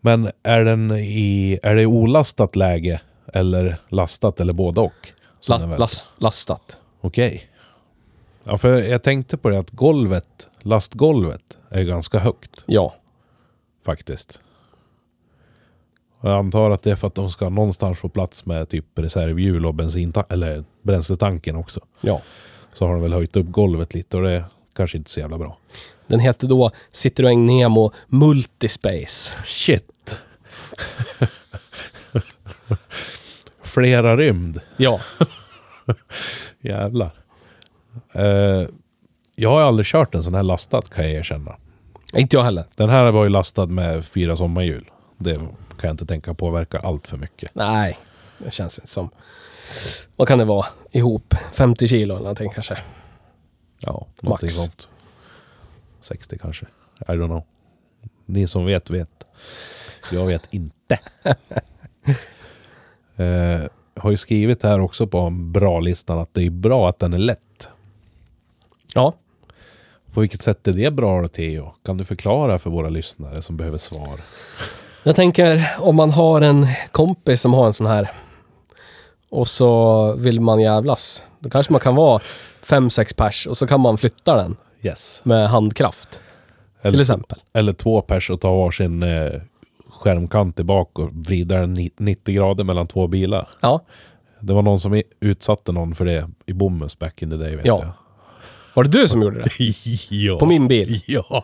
A: Men är den i... Är det olastat läge? Eller lastat? Eller både och? som
B: La-
A: den välter?
B: las- lastat.
A: Okej. Ja, för jag tänkte på det att golvet, lastgolvet, är ganska högt.
B: Ja.
A: Faktiskt. Och jag antar att det är för att de ska någonstans få plats med typ reservhjul och bensinta- eller bränsletanken också.
B: Ja.
A: Så har de väl höjt upp golvet lite och det är kanske inte så jävla bra.
B: Den hette då Citroën Nemo Multispace.
A: Shit! (laughs) Flera rymd.
B: Ja, (laughs)
A: Jävlar. Eh, jag har aldrig kört en sån här lastad kan jag erkänna.
B: inte jag heller.
A: Den här var ju lastad med fyra sommarhjul. Det kan jag inte tänka påverkar allt för mycket.
B: Nej, det känns inte som. Vad kan det vara ihop? 50 kilo eller någonting kanske.
A: Ja, någonting
B: Max.
A: sånt. 60 kanske. I don't know. Ni som vet, vet. Jag vet
B: (laughs)
A: inte. eh, har ju skrivit här också på bra-listan att det är bra att den är lätt.
B: Ja,
A: På vilket sätt är det bra då, Theo? Kan du förklara för våra lyssnare som behöver svar?
B: jag tänker om man har en kompis som har en sån här och så vill man jävlas. Då kanske man kan vara fem sex pers och så kan man flytta den
A: Yes.
B: med handkraft. Till exempel.
A: Eller två pers och ta varsin eh, skärmkant tillbaka och vrida den ni- 90 grader mellan två bilar.
B: Ja.
A: Det var någon som i- utsatte någon för det i Bomhus back in the day vet
B: Ja.
A: jag.
B: Var det du som gjorde det?
A: (laughs) ja.
B: På min bil?
A: Ja.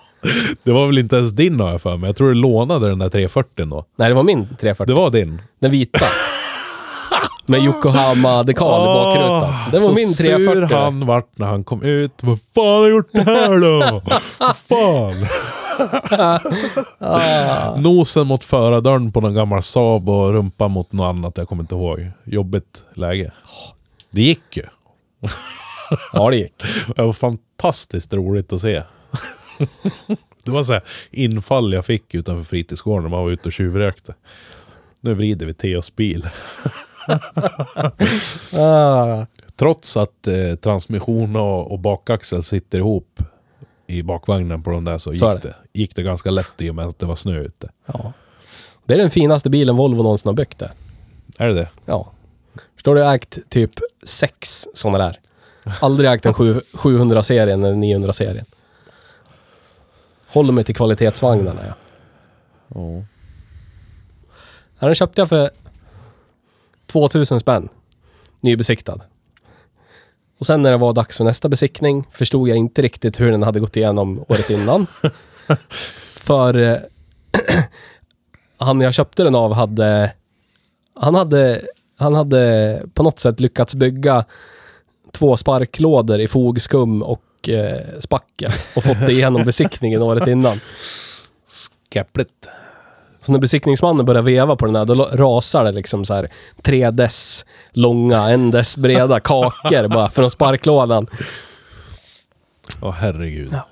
A: Det var väl inte ens din har jag för mig. Jag tror du lånade den där 340 då.
B: Nej, det var min 340.
A: Det var din.
B: Den vita. Med Yokohama-dekal i bakrutan. Det var
A: så
B: min
A: sur
B: 340.
A: han vart när han kom ut. Vad fan har jag gjort det här då? Vad
B: (laughs)
A: fan? Nosen mot förardörren på någon gammal Saab och rumpan mot något annat. Jag kommer inte ihåg. Jobbigt läge. Det gick ju.
B: Ja, det gick.
A: Det var fantastiskt roligt att se. (laughs) Det var så här infall jag fick utanför fritidsgården när man var ute och tjuvrökte. Nu vrider vi Theos bil.
B: Ah,
A: Trots att eh, transmission och, och bakaxel sitter ihop i bakvagnen på de där så,
B: Så är
A: gick, det. gick det ganska lätt i och med att det var snö ute.
B: ja. Det är den finaste bilen Volvo någonsin har byggt det.
A: Är det det?
B: Ja. Förstår du? Jag har ägt typ sex sådana där. Aldrig ägt en sju- (laughs) 700-serien eller 900-serien. Håller mig till kvalitetsvagnarna, ja.
A: Ja.
B: Ja, Den köpte jag för 2000 spänn. Nybesiktad. Och sen när det var dags för nästa besiktning förstod jag inte riktigt hur den hade gått igenom året innan. för eh, (clears throat) han jag köpte den av hade han, hade... han hade på något sätt lyckats bygga två sparklådor i fogskum och eh, spackel och fått det igenom besiktningen året innan.
A: Skäppligt.
B: Så när besiktningsmannen börjar veva på den här, då lo- rasar det liksom så här 3 dess långa, 1 dess breda kakor bara från sparklådan.
A: Åh herregud.
B: Ja.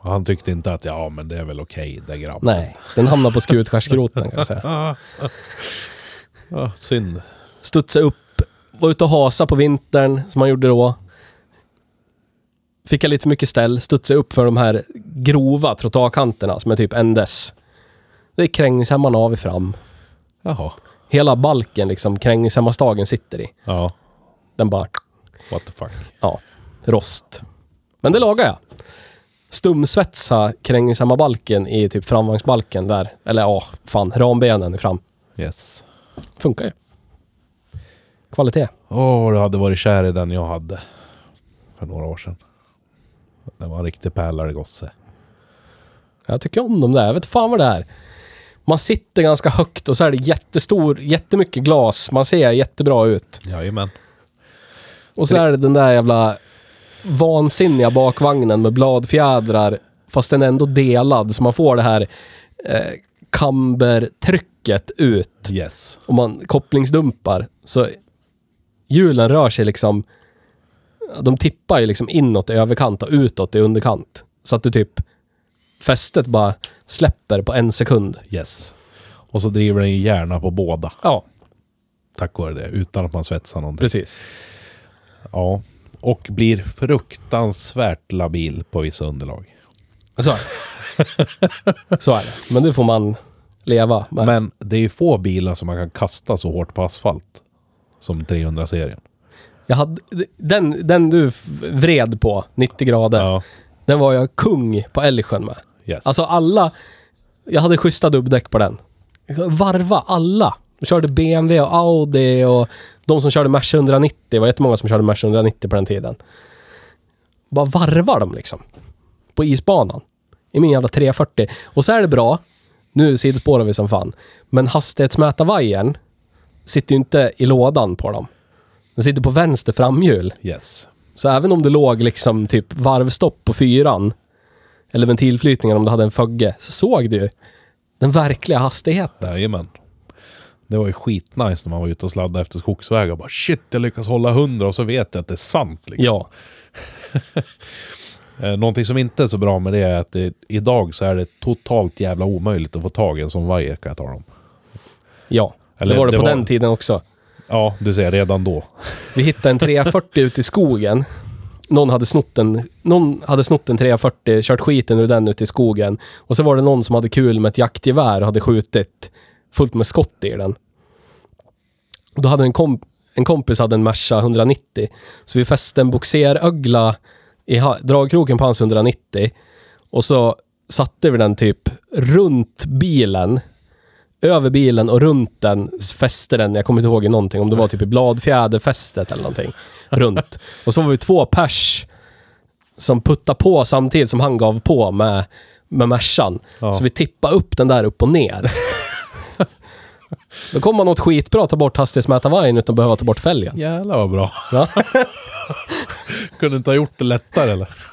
A: Och han tyckte inte att ja men det är väl okej det grabben.
B: Nej, den hamnar på skutskärsgroten kan jag säga.
A: Ja, synd.
B: Studsa upp, var ute och hasa på vintern, som man gjorde då. Fick jag lite för mycket ställ, studsa upp för de här grova trottoarkanterna som är typ 1 dess. Det är krängningshämmaren av i fram.
A: Jaha.
B: Hela balken liksom krängningshämmarstagen sitter i.
A: Ja.
B: Den bara
A: What the fuck.
B: Ja, rost. Men det lagar jag. Stumsvetsa balken i typ framvagnsbalken där. Eller ja, fan, rambenen i fram.
A: Yes.
B: Funkar ju. Kvalitet.
A: Åh, vad du hade varit kär i den jag hade. För några år sedan. Den var en riktig pärlare gosse.
B: Jag tycker om dem där. Jag vet fan vad det är. Man sitter ganska högt och så är det jättestor, jättemycket glas. Man ser jättebra ut.
A: Jajamän.
B: Och så är det den där jävla vansinniga bakvagnen med bladfjädrar. Fast den är ändå delad så man får det här eh, kambertrycket ut.
A: Yes.
B: om man kopplingsdumpar så hjulen rör sig liksom, de tippar ju liksom inåt i överkant och utåt i underkant. Så att du typ, fästet bara släpper på en sekund.
A: Yes. Och så driver den ju gärna på båda.
B: Ja,
A: Tack vare det. Utan att man svetsar någonting.
B: precis.
A: Ja. Och blir fruktansvärt labil på vissa underlag.
B: Så är det. Så är det. Men det får man leva med.
A: Men det är ju få bilar som man kan kasta så hårt på asfalt. Som 300-serien.
B: Jag hade, den, den du f- vred på, 90 grader,
A: Ja.
B: den var jag kung på Älgsjön med.
A: Yes.
B: Alltså alla Jag hade schyssta dubbdäck på den. Jag Varva alla. Jag körde BMW och Audi och de som körde Merca 190. Det var jättemånga som körde Merca 190 på den tiden. Bara varvar dem liksom. På isbanan. I min jävla 340. Och så är det bra. Nu sidospårar vi som fan. Men hastighetsmätarvajern sitter ju inte i lådan på dem. Den sitter på vänster framhjul.
A: Yes.
B: Så även om det låg liksom typ varvstopp på fyran, eller ventilflytningen om du hade en fögge, så såg du ju den verkliga hastigheten.
A: Jajamän. Det var ju skitnice när man var ute och sladdade efter skogsvägar. Bara shit, jag lyckas hålla hundra och så vet jag att det är sant. Liksom.
B: Ja,
A: Eh, Någonting som inte är så bra med det är att det, idag så är det totalt jävla omöjligt att få tag i en sån vajer kan jag tala om.
B: ja.
A: Eller
B: det var det,
A: det
B: på
A: var-
B: den tiden också.
A: Ja, du ser, redan då.
B: Vi hittade en 340 ute i skogen. Någon hade, snott en, någon hade snott en 340, kört skiten ur den ute i skogen. Och så var det någon som hade kul med ett jaktgevär och hade skjutit fullt med skott i den. Och Då hade en, komp en kompis hade en Merca 190. Så vi fäste en bogserögla i ha- dragkroken på hans 190. Och så satte vi den typ runt bilen. Över bilen och runt den fäste den, jag kommer inte ihåg i någonting, om det var typ i bladfjäderfästet eller någonting. Runt. Och så var vi två pers som puttade på samtidigt som han gav på med, med Mercan.
A: Ja.
B: Så vi tippade upp den där upp och ner. Då kommer man åt skitbra att ta bort hastighetsmätarvajern utan att behöva ta bort fälgen.
A: Jävlar vad bra.
B: Va?
A: (laughs) Kunde inte ha gjort det lättare eller? (laughs)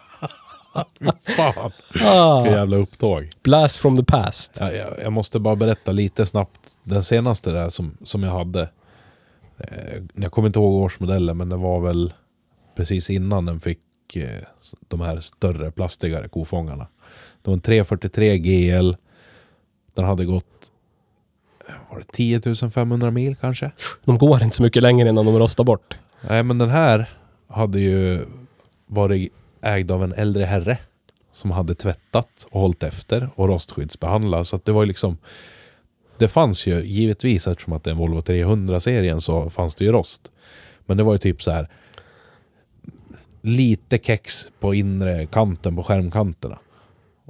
A: Fy fan,
B: Ah,
A: vilket jävla upptåg.
B: blast from the past.
A: Jag, jag, jag måste bara berätta lite snabbt den senaste där som, som jag hade. Eh, jag kommer inte ihåg årsmodellen men det var väl precis innan den fick eh, de här större plastigare kofångarna. Det var en 343 GL. Den hade gått eh, var det 10 500 mil kanske?
B: De går inte så mycket längre innan de rostar bort.
A: Nej men den här hade ju varit ägd av en äldre herre som hade tvättat och hållit efter och rostskyddsbehandlat. Så att det var ju liksom det fanns ju givetvis eftersom att det är en Volvo 300-serien så fanns det ju rost. Men det var ju typ så här lite kex på inre kanten på skärmkanterna.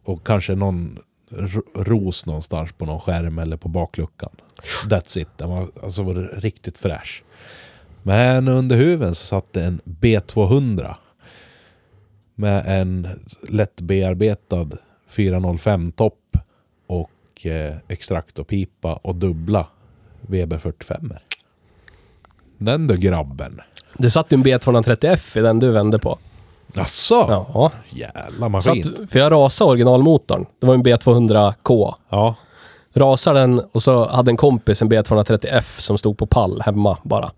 A: Och kanske någon r- ros någonstans på någon skärm eller på bakluckan. That's it. Den var, alltså var det riktigt fräsch. Men under huven så satt det en B200 med en lättbearbetad 405-topp och eh, extraktorpipa och dubbla Weber 45 Den du grabben.
B: Det satt ju en B230F i den du vände på.
A: Asså?
B: Ja.
A: Jävla maskin.
B: Satt, för jag rasade originalmotorn. Det var ju en B200K.
A: Ja,
B: Rasade den och så hade en kompis en B230F som stod på pall hemma bara.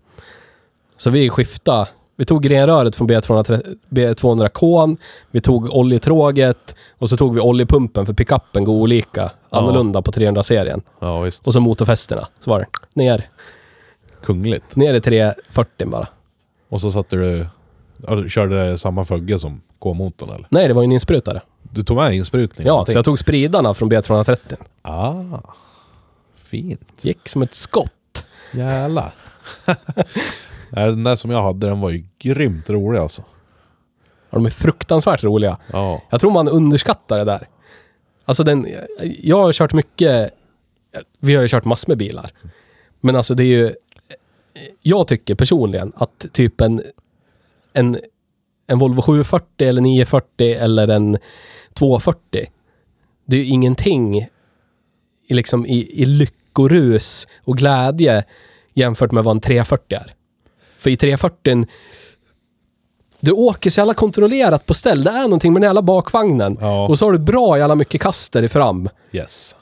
B: Så vi skiftade. Vi tog grenröret från B230 B200K, vi tog oljetråget och så tog vi oljepumpen för pickuppen går olika, annorlunda på 300-serien.
A: ja visst.
B: Och så motorfästena. Så var det ner,
A: Kungligt.
B: ner i 340 bara.
A: Och så satte du... Ja, du körde samma fögge som K-motorn eller?
B: Nej, det var ju en insprutare.
A: Du tog med insprutning?
B: Ja,
A: någonting?
B: så jag tog spridarna från B230.
A: Ah, fint.
B: Gick som ett skott.
A: Jävlar. (laughs) Nej, den där som jag hade, den var ju grymt rolig alltså.
B: Ja, de är fruktansvärt roliga.
A: Ja.
B: Jag tror man underskattar det där. Alltså den, jag har kört mycket, vi har ju kört massor med bilar. Men alltså det är ju, jag tycker personligen att typ en, en, en Volvo 740 eller 940 eller en 240, det är ju ingenting i, liksom, i, i lyckorus och glädje jämfört med vad en 340 är. För i 340 du åker så jävla kontrollerat på ställ. Det är någonting med den jävla bakvagnen.
A: Ja.
B: Och så har du bra jävla mycket kaster i fram.
A: Yes.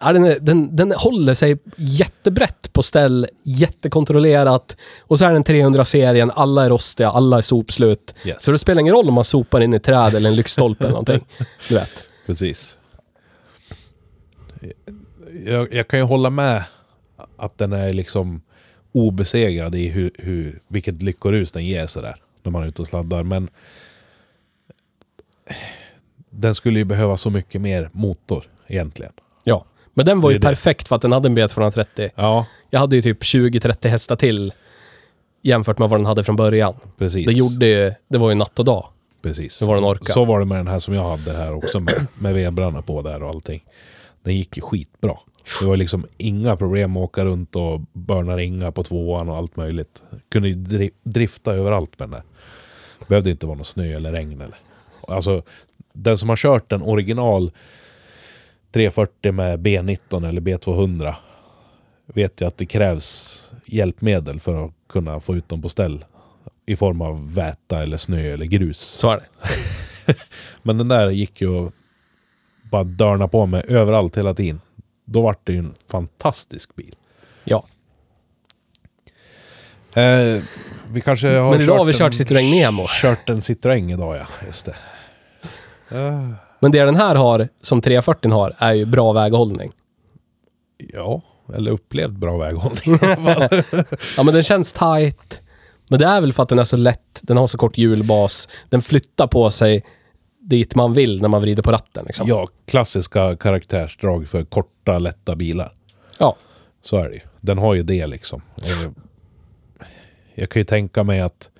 B: Ja, den, är, den, den håller sig jättebrett på ställ, jättekontrollerat. Och så är den 300-serien, alla är rostiga, alla är sopslut.
A: Yes.
B: Så det spelar ingen roll om man sopar in i ett träd eller en lyktstolpe
A: (laughs)
B: eller någonting. Du vet.
A: Precis. Jag, jag kan ju hålla med att den är liksom obesegrad i hur, hur, vilket lyckorus den ger sådär. När man är ute och sladdar. Men den skulle ju behöva så mycket mer motor egentligen.
B: Ja. Men den var
A: Det är
B: ju
A: det.
B: perfekt för att den hade en B230.
A: Ja,
B: Jag hade ju typ 20-30 hästar till jämfört med vad den hade från början.
A: precis.
B: Det gjorde ju, det var ju natt och dag.
A: precis.
B: Det var en orka.
A: Så var det med den här som jag hade här också med, med vebrarna på där och allting. Den gick ju skitbra. Det var liksom inga problem att åka runt och börna ringa på tvåan och allt möjligt. Kunde ju dri- drifta överallt med den där. Behövde inte vara någon snö eller regn eller. Alltså, den som har kört den original 340 med B19 eller B200 vet ju att det krävs hjälpmedel för att kunna få ut dem på ställ. I form av väta eller snö eller grus.
B: Så är det.
A: Men den där gick ju att bara dörna på med överallt hela tiden. Då vart det ju en fantastisk bil.
B: Ja.
A: Eh, vi kanske har
B: Men idag har vi
A: en-
B: kört Citroën Nemo.
A: (laughs) Kört en Citroën idag ja, just det.
B: Men det den här har, som 340 har, är ju bra väghållning.
A: Ja, eller upplevt bra väghållning. (laughs)
B: Ja, men den känns tight. Men det är väl för att den är så lätt, den har så kort hjulbas, den flyttar på sig dit man vill när man vrider på ratten. Liksom.
A: ja, klassiska karaktärsdrag för korta, lätta bilar.
B: ja.
A: Så är det ju. Den har ju det liksom. Eh, Jag kan ju tänka mig att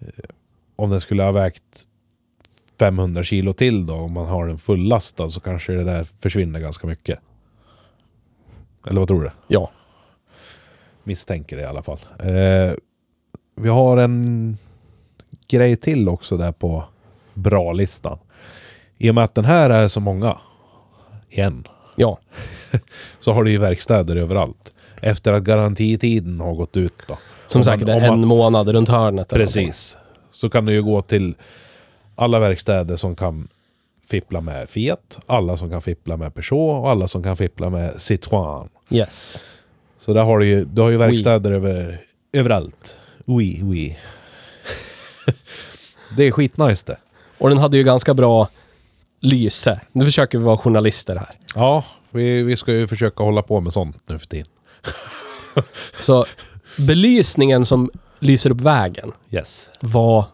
A: eh, om den skulle ha vägt 500 kilo till då, om man har den fullastad så kanske det där försvinner ganska mycket. Eller vad tror du?
B: ja.
A: Misstänker det i alla fall. Eh, vi har en grej till också där på bra-listan. I och med att den här är så många, igen,
B: Ja.
A: så har du ju verkstäder överallt. Efter att garantitiden har gått ut då. Om
B: Som
A: man-
B: säkert är
A: om man-
B: en månad runt hörnet. eller någonting.
A: Precis. Så kan du ju gå till alla verkstäder som kan fippla med Fiat, alla som kan fippla med Peugeot och alla som kan fippla med Citroën.
B: Yes.
A: Så där har du ju, du har ju verkstäder över, överallt. Oui, oui. det är skitnice det.
B: Och den hade ju ganska bra lyse. Nu försöker vi vara journalister här.
A: Ja, vi, vi ska ju försöka hålla på med sånt nu för tiden.
B: Så belysningen som lyser upp vägen
A: Yes.
B: var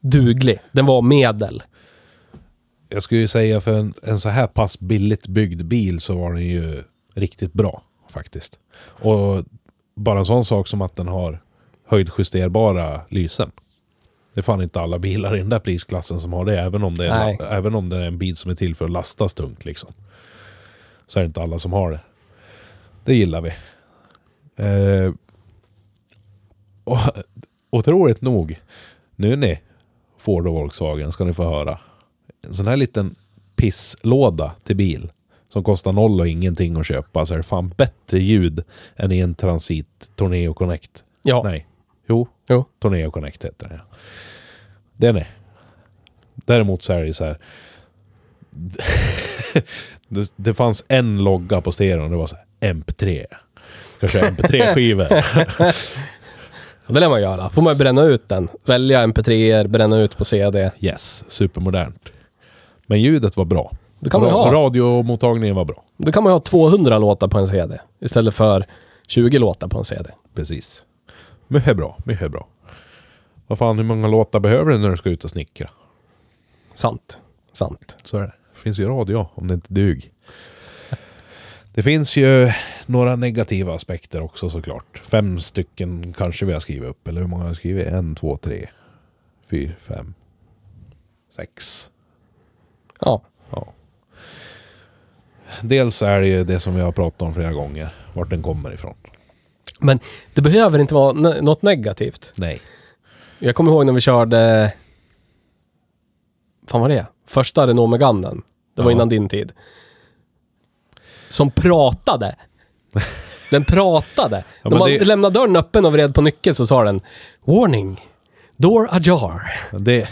B: duglig. Den var medel.
A: Jag skulle ju säga för en, en så här pass billigt byggd bil så var den ju riktigt bra faktiskt. Och bara en sån sak som att den har höjdjusterbara lysen. Det är fan inte alla bilar i den där prisklassen som har det, även om det är,
B: Nej.
A: även om det är en bil som är till för att lastas tungt. Liksom. Så är det inte alla som har det. Det gillar vi. Eh, och, otroligt nog, nu ni Ford och Volkswagen ska ni få höra. En sån här liten pisslåda till bil som kostar noll och ingenting att köpa så är det fan bättre ljud än i en Transit Torneo Connect.
B: Ja.
A: Nej, jo,
B: Jo.
A: Torneo Connect heter den ja. Den är. Däremot så är det ju så här. (laughs) det, det fanns en logga på stereon. Det var så här MP3. Kanske
B: (laughs)
A: MP3-skivor.
B: Och Det lär man göra. Får man ju bränna ut den. Välja mp 3 er bränna ut på CD.
A: yes, supermodernt. Men ljudet var bra.
B: Det kan man ju
A: Ra-
B: ha.
A: Radiomottagningen var bra.
B: Då kan man ju ha 200 låtar på en CD istället för 20 låtar på en CD.
A: Precis. Mycket bra, mycket bra. Vad fan, hur många låtar behöver du när du ska ut och snickra?
B: Sant. Sant.
A: Så är det. Det finns ju radio om det inte dug. (laughs) Det finns ju några negativa aspekter också såklart. Fem stycken kanske vi har skrivit upp. Eller hur många har jag skrivit? En, två, tre, fyra, fem, sex.
B: Ja.
A: Ja. Dels är det ju det som vi har pratat om flera gånger. Vart den kommer ifrån.
B: Men det behöver inte vara ne- något negativt.
A: Nej.
B: Jag kommer ihåg när vi körde... Fan var det? Första Renault Meganden. Det var
A: Ja.
B: innan din tid. Som pratade. Den pratade.
A: (laughs) Ja,
B: När
A: men
B: man
A: det-
B: lämnade dörren öppen och vred på nyckeln så sa den Warning! Door ajar.
A: Det,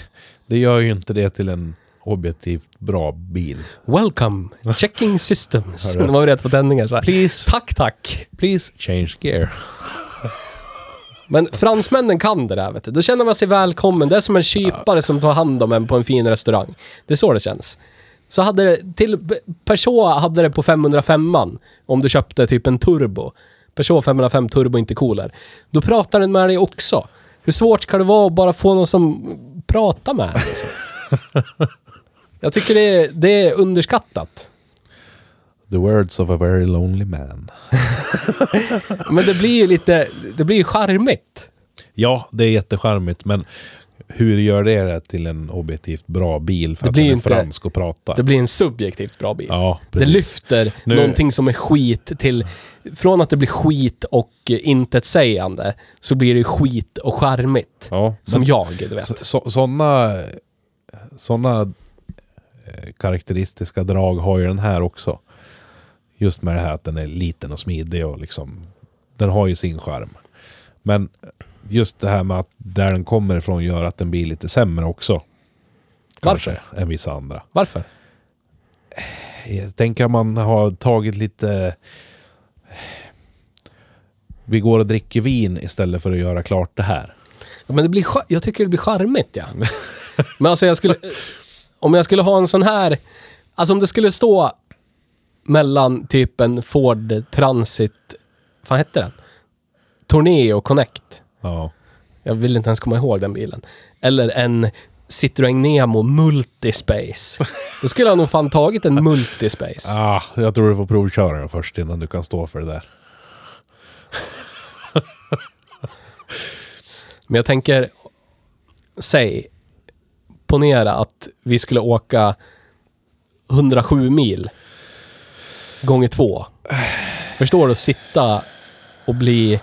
A: det gör ju inte det till en objektivt bra bil.
B: Welcome! Checking systems.
A: Hörru.
B: Det var vi rätt på tändningen så här.
A: Please.
B: Tack, tack.
A: Please change gear.
B: Men fransmännen kan det där, vet du. Då känner man sig välkommen. Det är som en kypare som tar hand om en på en fin restaurang. Det är så det känns. Så hade det, till Peugeot hade det på 505 om du köpte typ en turbo. Peugeot 505 turbo, inte cooler. Då pratar den med dig också. Hur svårt kan det vara att bara få någon som pratar med dig, liksom? Jag tycker det är, det är underskattat.
A: The words of a very lonely man.
B: Men det blir ju lite, det blir ju charmigt.
A: Ja, det är jättecharmigt, men hur gör det det till en objektivt bra bil för
B: Det
A: att
B: blir
A: den är
B: inte-
A: fransk och pratar?
B: Det blir en subjektivt bra bil.
A: ja,
B: det
A: precis.
B: lyfter
A: Nu-
B: någonting som är skit till... Från att det blir skit och eh, intetsägande så blir det skit och charmigt.
A: Ja,
B: Som
A: men
B: jag, du vet.
A: så- så- Sådana såna, eh, karaktäristiska drag har ju den här också. Just med det här att den är liten och smidig och liksom den har ju sin charm. Men just det här med att där den kommer ifrån gör att den blir lite sämre också. Kanske, än vissa andra.
B: Varför?
A: Jag tänker att man har tagit lite... Vi går och dricker vin istället för att göra klart det här.
B: Ja, men det blir, cha- jag tycker det blir charmigt,
A: (laughs)
B: ja. Men alltså jag skulle... Om jag skulle ha en sån här... Alltså om det skulle stå mellan typ en Ford Transit... Vad hette den? Torneo Connect.
A: Ja.
B: Jag vill inte ens komma ihåg den bilen. Eller en Citroën Nemo Multispace. Då skulle jag nog fan tagit en Multispace.
A: Ah, jag tror du får provköra den först innan du kan stå för det där.
B: Men jag tänker, säg, ponera att vi skulle åka 107 mil gånger två. Förstår du? att Sitta och bli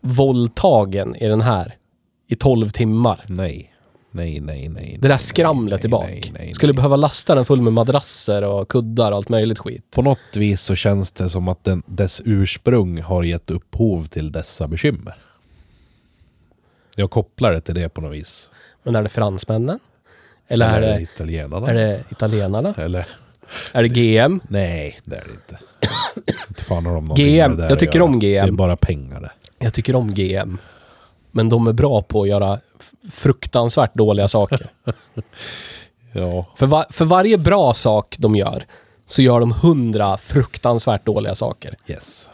B: våldtagen i den här i 12 timmar.
A: Nej. Nej, nej, nej.
B: Det där
A: nej,
B: skramlet
A: nej,
B: i bak.
A: nej, nej, nej.
B: Skulle behöva lasta den full med madrasser och kuddar och allt möjligt skit.
A: På något vis så känns det som att den, dess ursprung har gett upphov till dessa bekymmer. Jag kopplar det till det på något vis.
B: Men är det fransmännen? Eller är det,
A: italienarna?
B: är det italienarna?
A: Eller?
B: Är det GM?
A: Nej, det är det inte. inte fan har de någonting
B: GM.
A: med det där
B: Jag
A: att
B: tycker
A: göra.
B: om
A: Det är
B: GM.
A: bara pengar det.
B: Jag tycker om GM. Men de är bra på att göra f- fruktansvärt
A: (laughs)
B: dåliga saker.
A: Ja.
B: För, va- för varje bra sak de gör så gör de hundra fruktansvärt dåliga saker.
A: Yes.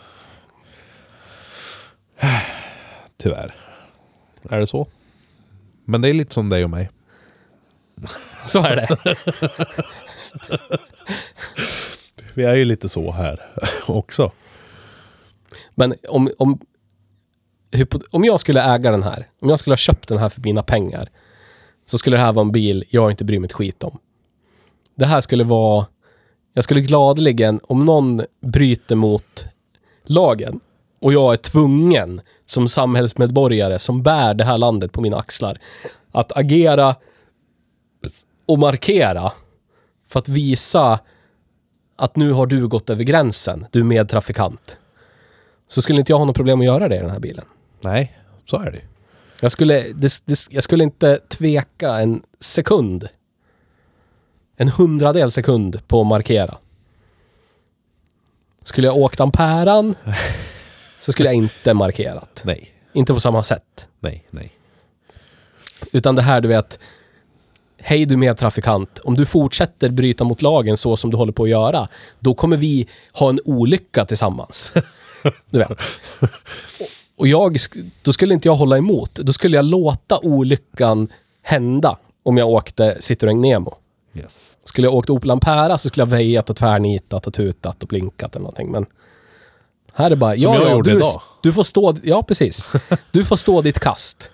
A: (sighs) Tyvärr. Är det så? Men det är lite som dig och mig.
B: Så är det.
A: Vi är ju lite så här (laughs) också.
B: Men om, om, hypo- om jag skulle äga den här, om jag skulle ha köpt den här för mina pengar, så skulle det här vara en bil jag inte bryr mig ett skit om. Det här skulle vara... Jag skulle gladeligen, om någon bryter mot lagen och jag är tvungen som samhällsmedborgare som bär det här landet på mina axlar att agera och markera för att visa att nu har du gått över gränsen, du medtrafikant så skulle inte jag ha något problem att göra det i den här bilen.
A: Nej, så är det ju.
B: Jag skulle, det, det, jag skulle inte tveka en sekund. En hundradel sekund på att markera. Skulle jag åkt ampäran så skulle jag inte markerat.
A: Nej,
B: Inte på samma sätt.
A: nej, nej.
B: Utan det här du vet, hej du medtrafikant, om du fortsätter bryta mot lagen så som du håller på att göra, då kommer vi ha en olycka tillsammans. Du vet. Och- Och jag, sk- då skulle inte jag hålla emot. Då skulle jag låta olyckan hända om jag åkte Citroën Nemo.
A: Yes.
B: Skulle jag åkt Opel Ampera så skulle jag väjat och tvärnitat och tutat och blinkat eller någonting. Men här är bara,
A: Som
B: ja,
A: jag
B: ja,
A: gjorde
B: du,
A: idag.
B: du får stå, ja
A: (laughs)
B: precis. Du får stå ditt kast.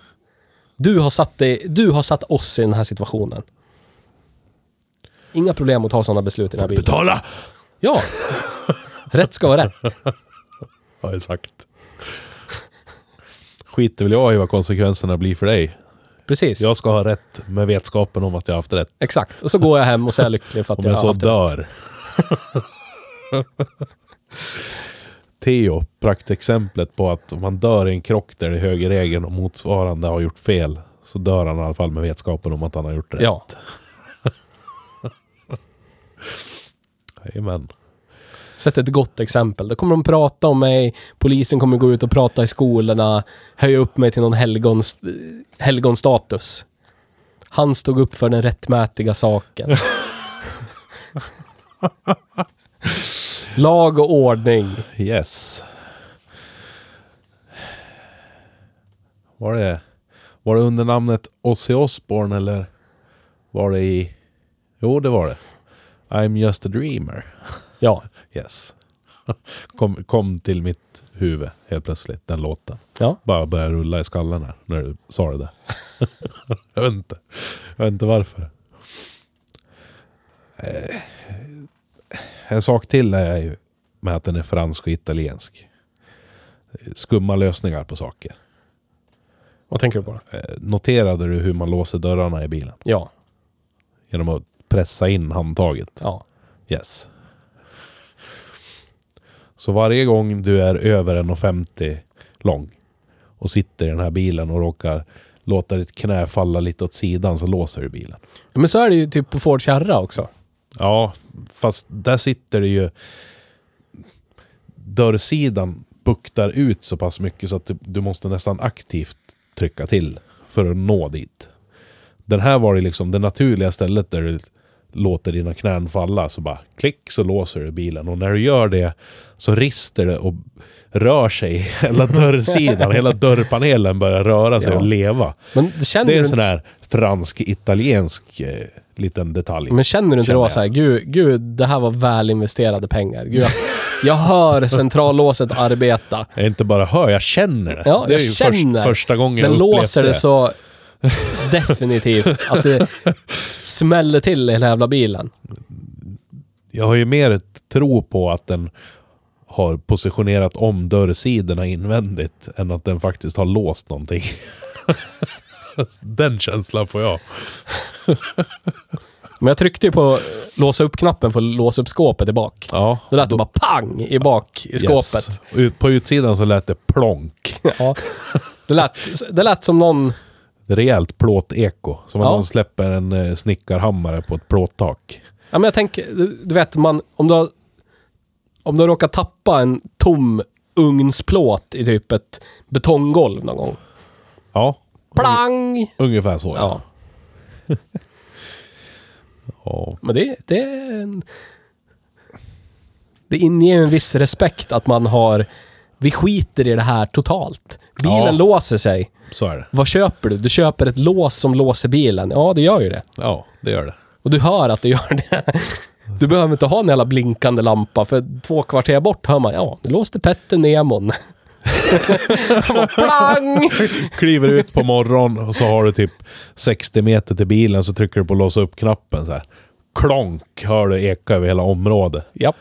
B: Du har satt, dig, du har satt oss i den här situationen. Inga problem att ta sådana beslut i den här bilen.
A: Betala! (laughs)
B: Ja. Rätt ska vara rätt.
A: Har jag sagt. Skiter väl jag i vad konsekvenserna blir för dig.
B: Precis.
A: Jag ska ha rätt med vetskapen om att jag har haft rätt.
B: Exakt. Och så går jag hem och så är jag lycklig för att
A: Om
B: jag
A: jag
B: har
A: så
B: haft det.
A: dör. Theo, praktexemplet på att om man dör i en krock där det är högerregeln och motsvarande har gjort fel så dör han i alla fall med vetskapen om att han har gjort rätt.
B: Ja.
A: Jajamän.
B: Sätt ett gott exempel. Då kommer de prata om mig, polisen kommer gå ut och prata i skolorna, höja upp mig till någon helgon, helgonstatus. Han stod upp för den
A: (laughs)
B: rättmätiga saken. Lag och ordning.
A: Yes. Var det, var det under namnet Ozzy Osbourne eller var det i... Jo, det var det. I'm just a dreamer.
B: Ja,
A: (laughs) Yes. Kom, kom till mitt huvud helt plötsligt, den låten.
B: Ja.
A: Bara började rulla i skallen här när du sa det där. (laughs) jag, vet inte. jag vet inte varför. Eh, En sak till är ju med att den är fransk och italiensk. Skumma lösningar på saker.
B: Vad tänker du på? då?
A: Eh, Noterade du hur man låser dörrarna i bilen?
B: Ja.
A: Genom att pressa in handtaget.
B: ja.
A: Yes. Så varje gång du är över 1,50 lång och sitter i den här bilen och råkar låta ditt knä falla lite åt sidan så låser du bilen.
B: Men så är det ju typ på Ford Kärra också.
A: Ja, fast där sitter det ju... Dörrsidan buktar ut så pass mycket så att du, du måste nästan aktivt trycka till för att nå dit. Den här var det liksom det naturliga stället där du låter dina knän falla. Så bara klick så låser du bilen. Och när du gör det så rister det och rör sig (laughs) hela dörrsidan. hela dörrpanelen börjar röra sig
B: Ja.
A: och leva.
B: Men känner,
A: Det är en
B: du,
A: sån här fransk-italiensk eh, liten detalj.
B: men känner du inte
A: Känner
B: då
A: jag.
B: så här, gud, gud, det här var väl investerade pengar. Gud, jag,
A: (laughs)
B: jag hör centrallåset arbeta.
A: Jag inte bara hör, jag känner det.
B: Ja,
A: det är
B: jag
A: ju
B: känner.
A: Först, första gången
B: Den
A: jag upplevt
B: låser det så definitivt
A: (laughs)
B: att det smäller till i hela jävla bilen.
A: Jag har ju mer ett tro på att den har positionerat om dörrsidorna invändigt än att den faktiskt har låst någonting. (laughs) den känslan får jag.
B: Men jag tryckte ju på låsa upp-knappen för att låsa upp skåpet i bak.
A: Ja,
B: Då lät det bara pang i bak i skåpet.
A: Yes. Ut- På utsidan så lät det plonk.
B: Ja. Det, lät, det lät som någon...
A: Rejält plåteko. Som om
B: Ja.
A: någon släpper en eh, snickarhammare på ett plåttak.
B: Ja, men jag tänker, du, du vet, man, om, du har, om du har råkat tappa en tom ugnsplåt i typ ett betonggolv någon gång.
A: Ja,
B: Plang!
A: ungefär så. Mm. Ja.
B: Ja,
A: Ja.
B: men det, det är en... Det inger en viss respekt att man har... Vi skiter i det här totalt. Bilen
A: Ja.
B: låser sig.
A: så är det.
B: Vad köper du? Du köper ett lås som låser bilen. Ja, det gör ju det.
A: Ja, det gör det.
B: Och du hör att det gör (laughs) det. Du behöver inte ha en jävla blinkande lampa, för två kvarter bort hör man, ja, nu låste Petter Nemon. (laughs) Plang!
A: kliver ut på morgonen och så har du typ 60 meter till bilen så trycker du på låsa upp-knappen så här. Klonk hör du eka över hela området.
B: Japp.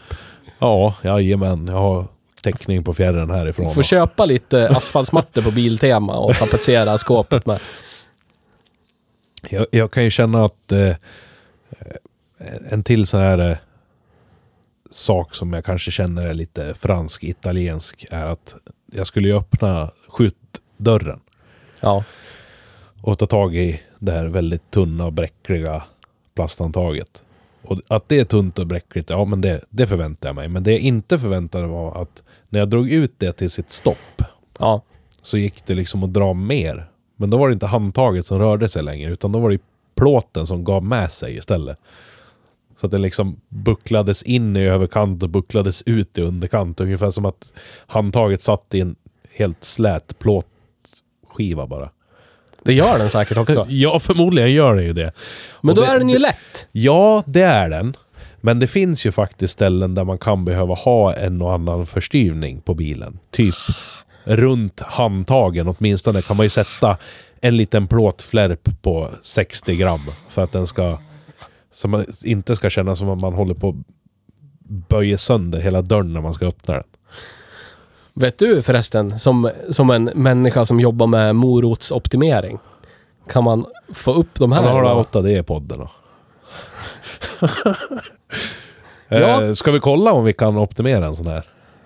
A: Ja, jajamän. Jag har täckning på fjärren härifrån.
B: Får köpa lite asfaltsmattor på Biltema och tapetsera skåpet med.
A: Jag, jag kan ju känna att eh, en till sån här eh, sak som jag kanske känner är lite fransk-italiensk är att jag skulle ju öppna skjutdörren
B: Ja.
A: och ta tag i det här väldigt tunna och bräckliga plasthandtaget. Och att det är tunt och bräckligt, ja men det, det förväntar jag mig. Men det jag inte förväntade var att när jag drog ut det till sitt stopp
B: Ja.
A: så gick det liksom att dra mer. Men då var det inte handtaget som rörde sig längre utan då var det plåten som gav med sig istället. Så att den liksom bucklades in i överkant och bucklades ut i underkant. Ungefär som att handtaget satt i en helt slät plåtskiva bara.
B: Det gör den säkert också.
A: Ja, förmodligen gör den ju det.
B: Men
A: Och
B: då
A: det-
B: är den ju
A: det-
B: lätt.
A: Ja, det är den. Men det finns ju faktiskt ställen där man kan behöva ha en och annan förstyvning på bilen. Typ runt handtagen. Åtminstone kan man ju sätta en liten plåtflärp på 60 gram för att den ska... Så man inte ska känna som att man håller på att böjer sönder hela dörren när man ska öppna den.
B: Vet du förresten, som, som en människa som jobbar med morotsoptimering, kan man få upp de här?
A: Alla har
B: då?
A: outat det i podden då.
B: Ja.
A: Eh, Ska vi kolla om vi kan optimera en sån här?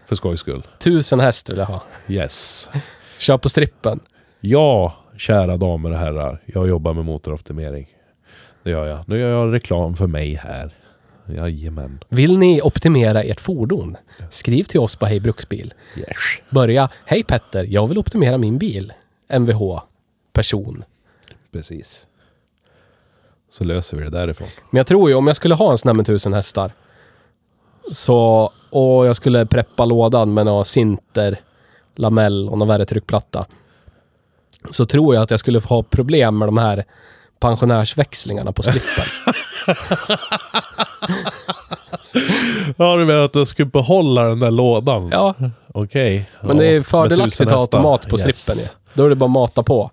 A: För skojs skull.
B: Tusen häst vill jag ha.
A: Yes.
B: Kör på strippen.
A: Ja, kära damer och herrar. Jag jobbar med motoroptimering. Det gör jag. Nu gör jag reklam för mig här. Jajamän.
B: Vill ni optimera ert fordon? Skriv till oss på Hej Bruksbil.
A: Yes.
B: Börja Hej Petter, jag vill optimera min bil. MVH. Person.
A: Precis. Så löser vi det därifrån.
B: Men jag tror ju om jag skulle ha en sån här med 1000 hästar. Så, och jag skulle preppa lådan med några sinter, lamell och någon värre tryckplatta. Så tror jag att jag skulle ha problem med de här pensionärsväxlingarna
A: (laughs)
B: på slippen.
A: Ja, du menar att du skulle behålla den där lådan?
B: ja,
A: Okej.
B: men
A: Ja,
B: det är
A: med tusen
B: fördelaktigt att ha
A: hästar.
B: automat på
A: Yes.
B: slippen ju. Då är det bara att mata på.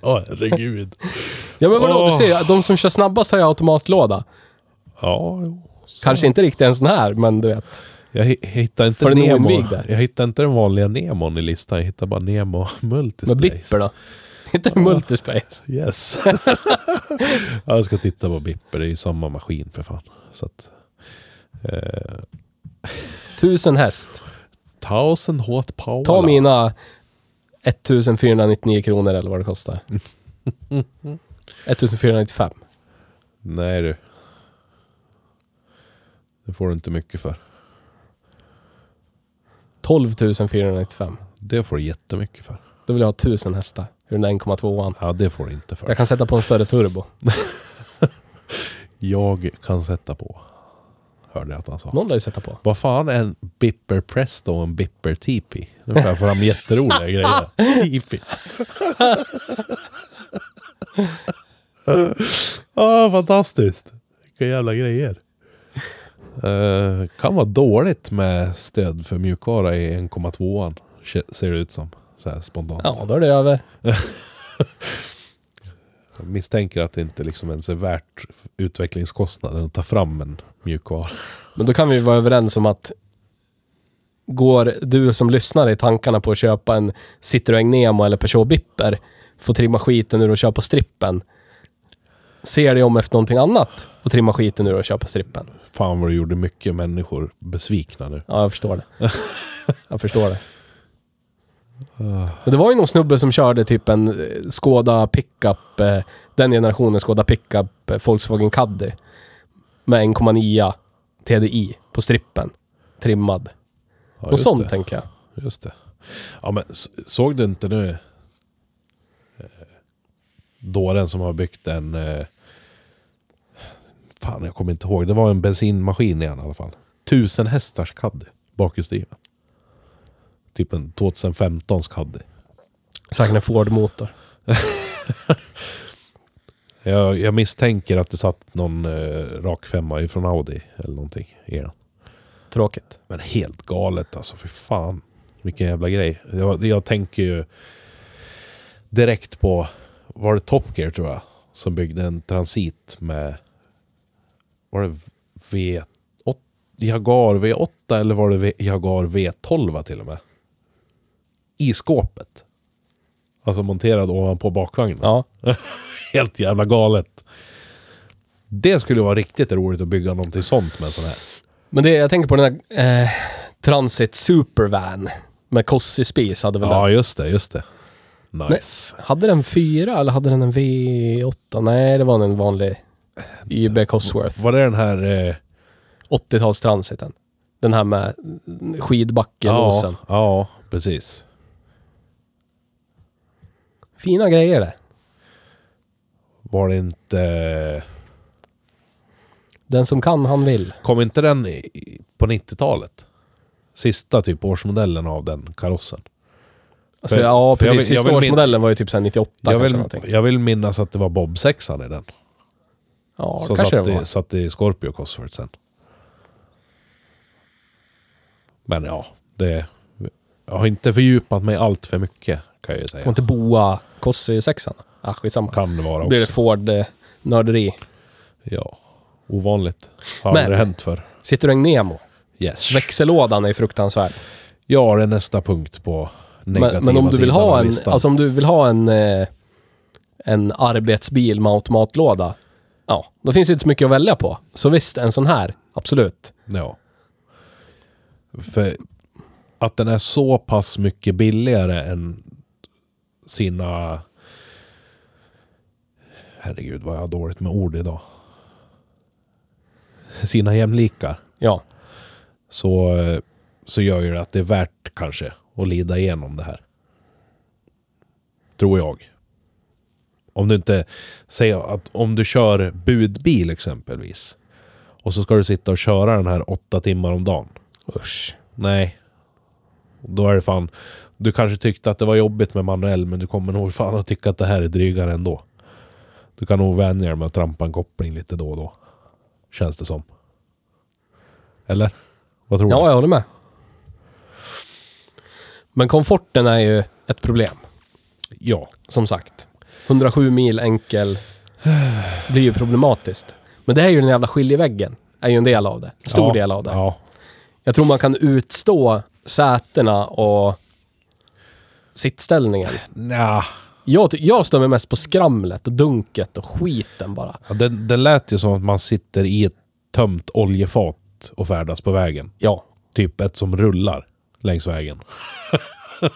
A: Åh, herregud.
B: Ja men vadå, du
A: Åh.
B: ser, de som kör snabbast har ju automatlåda.
A: Ja, jo.
B: Kanske inte riktigt en sån här, men du vet.
A: Jag hi- hittar inte
B: För den
A: Nemo.
B: oinvigde.
A: Jag hittar inte den vanliga Nemon i listan. Jag hittar bara Nemo Multispace.
B: Med Blipper då. (laughs) Inte Multispace. (laughs)
A: Yes. ja, jag ska titta på Blipper. Det är ju samma maskin för fan. Så att... Eh,
B: Tusen häst.
A: Thousand Hot Power.
B: Ta mina 1499 kronor eller vad det kostar. 1495.
A: Nej du. Det får du inte mycket för.
B: 12 495.
A: Det får du jättemycket för.
B: Då vill jag ha 1000 hästar. Ur den 1,2an.
A: Ja, det får du inte för.
B: Jag kan sätta på en större turbo.
A: Jag kan sätta på. Hörde jag att han sa.
B: Någon lär ju sätta på.
A: Vad fan är en Bipper Presto och en Bipper Tipi? Nu får jag fram jätteroliga grejer. Tipi. ah, fantastiskt. Vilka jävla grejer. Eh, kan vara dåligt med stöd för mjukvara i 1,2an. ke- Ser det ut som. Så här spontant.
B: Ja, då är det över.
A: Jag misstänker att det inte liksom ens är värt utvecklingskostnaden att ta fram en mjukvara.
B: Men då kan vi vara överens om att går du som lyssnar i tankarna på att köpa en Citroën Nemo eller Peugeot Bipper, få trimma skiten ur och köpa strippen. Ser dig om efter någonting annat och trimma skiten ur och köpa strippen.
A: Fan vad du gjorde mycket människor besvikna nu.
B: Ja, jag förstår
A: (laughs)
B: det. Jag förstår det.
A: Ah.
B: Men det var ju någon snubbe som körde typ en eh, Skoda pickup, eh, den generationen Skoda pickup, eh, Volkswagen Caddy. Med 1,9 TDI på strippen. Trimmad.
A: Ja,
B: Något
A: just
B: sånt
A: det.
B: tänker jag.
A: Just det. Ja, men s- såg du inte nu eh, dåren som har byggt en... eh, Fan, jag kommer inte ihåg. Det var en bensinmaskin igen i alla fall. Tusen hästars Caddy bakhjulsdriven. Typ en 2015s Caddy.
B: Säkert en Ford-motor.
A: Jag, jag misstänker att det satt någon eh, rakfemma ifrån Audi eller någonting i den.
B: Tråkigt.
A: Men helt galet alltså, för fan. Vilken jävla grej. Jag, jag tänker ju direkt på, var det Top Gear tror jag, som byggde en transit med, var det V8, Jaguar V8 eller var det v, Jaguar V12 till och med? I skåpet. Alltså monterad ovanpå bakvagnen.
B: Ja.
A: Helt jävla galet. Det skulle vara riktigt roligt att bygga någonting sånt med en sån här.
B: Men det, jag tänker på den här eh, Transit Supervan. Med Kossi-spis hade väl
A: Ja,
B: den.
A: just det, just det. Nice.
B: Hade den fyra eller hade den en V8? Nej, det var en vanlig
A: Eh,
B: YB Cosworth.
A: Var det den här... Eh,
B: 80-talstransiten. Den här med skidbacken och
A: ja,
B: nosen.
A: ja, precis.
B: Fina grejer det.
A: Var det inte...
B: Den som kan, han vill.
A: Kom inte den i, i- på 90-talet? Sista typ årsmodellen av den karossen.
B: Alltså,
A: För-
B: ja,
A: för jag
B: precis.
A: vill- jag
B: Sista
A: vill min-
B: årsmodellen var ju typ såhär 98
A: Jag
B: kanske
A: vill,
B: någonting.
A: jag vill minnas att det var Bob-sexan i den.
B: Ja,
A: som
B: kanske det
A: satt,
B: var.
A: I, satt i Scorpio Cosworth sen. Men ja, det... Jag har inte fördjupat mig allt för mycket kan jag ju
B: Var
A: säga.
B: inte Boa Kossi sexan? Ah, skitsamma.
A: Kan det vara
B: Då blir det eh,
A: också.
B: Ford-nörderi.
A: Ja, ovanligt. Har
B: Men-
A: aldrig hänt för.
B: Citroën Nemo.
A: Yes.
B: Växellådan är fruktansvärd.
A: Ja, det är nästa punkt på negativa
B: Men, men om, du vill
A: sidan
B: ha
A: av
B: en,
A: listan.
B: alltså om du vill ha en, eh, en arbetsbil med automatlåda, ja, då finns det inte så mycket att välja på. Så visst, en sån här, absolut.
A: Ja. För att den är så pass mycket billigare än sina... Herregud vad jag har dåligt med ord idag. Sina jämlikar.
B: Ja.
A: Så, eh, så gör ju det att det är värt kanske att lida igenom det här. Tror jag. Om du inte säger att om du kör budbil exempelvis. Och så ska du sitta och köra den här åtta timmar om dagen.
B: Usch.
A: Nej. Då är det fan Du kanske tyckte att det var jobbigt med manuell, men du kommer nog fan att tycka att det här är drygare ändå. Du kan nog vänja dig med att trampa en koppling lite då och då. Känns det som. Eller? Vad tror
B: Ja,
A: du?
B: jag håller med. Men komforten är ju ett problem,
A: Ja.
B: som sagt. 107 mil enkel (sighs) blir ju problematiskt. Men det är ju den jävla skiljeväggen. är ju en del av det. Stor
A: ja.
B: del av det.
A: Ja.
B: Jag tror man kan utstå sätena och sittställningen.
A: Nja.
B: Jag, ty- jag stör mig mest på skramlet och dunket och skiten bara.
A: Ja, det, det lät ju som att man sitter i ett tömt oljefat och färdas på vägen.
B: Ja,
A: Typ ett som rullar längs vägen. (laughs)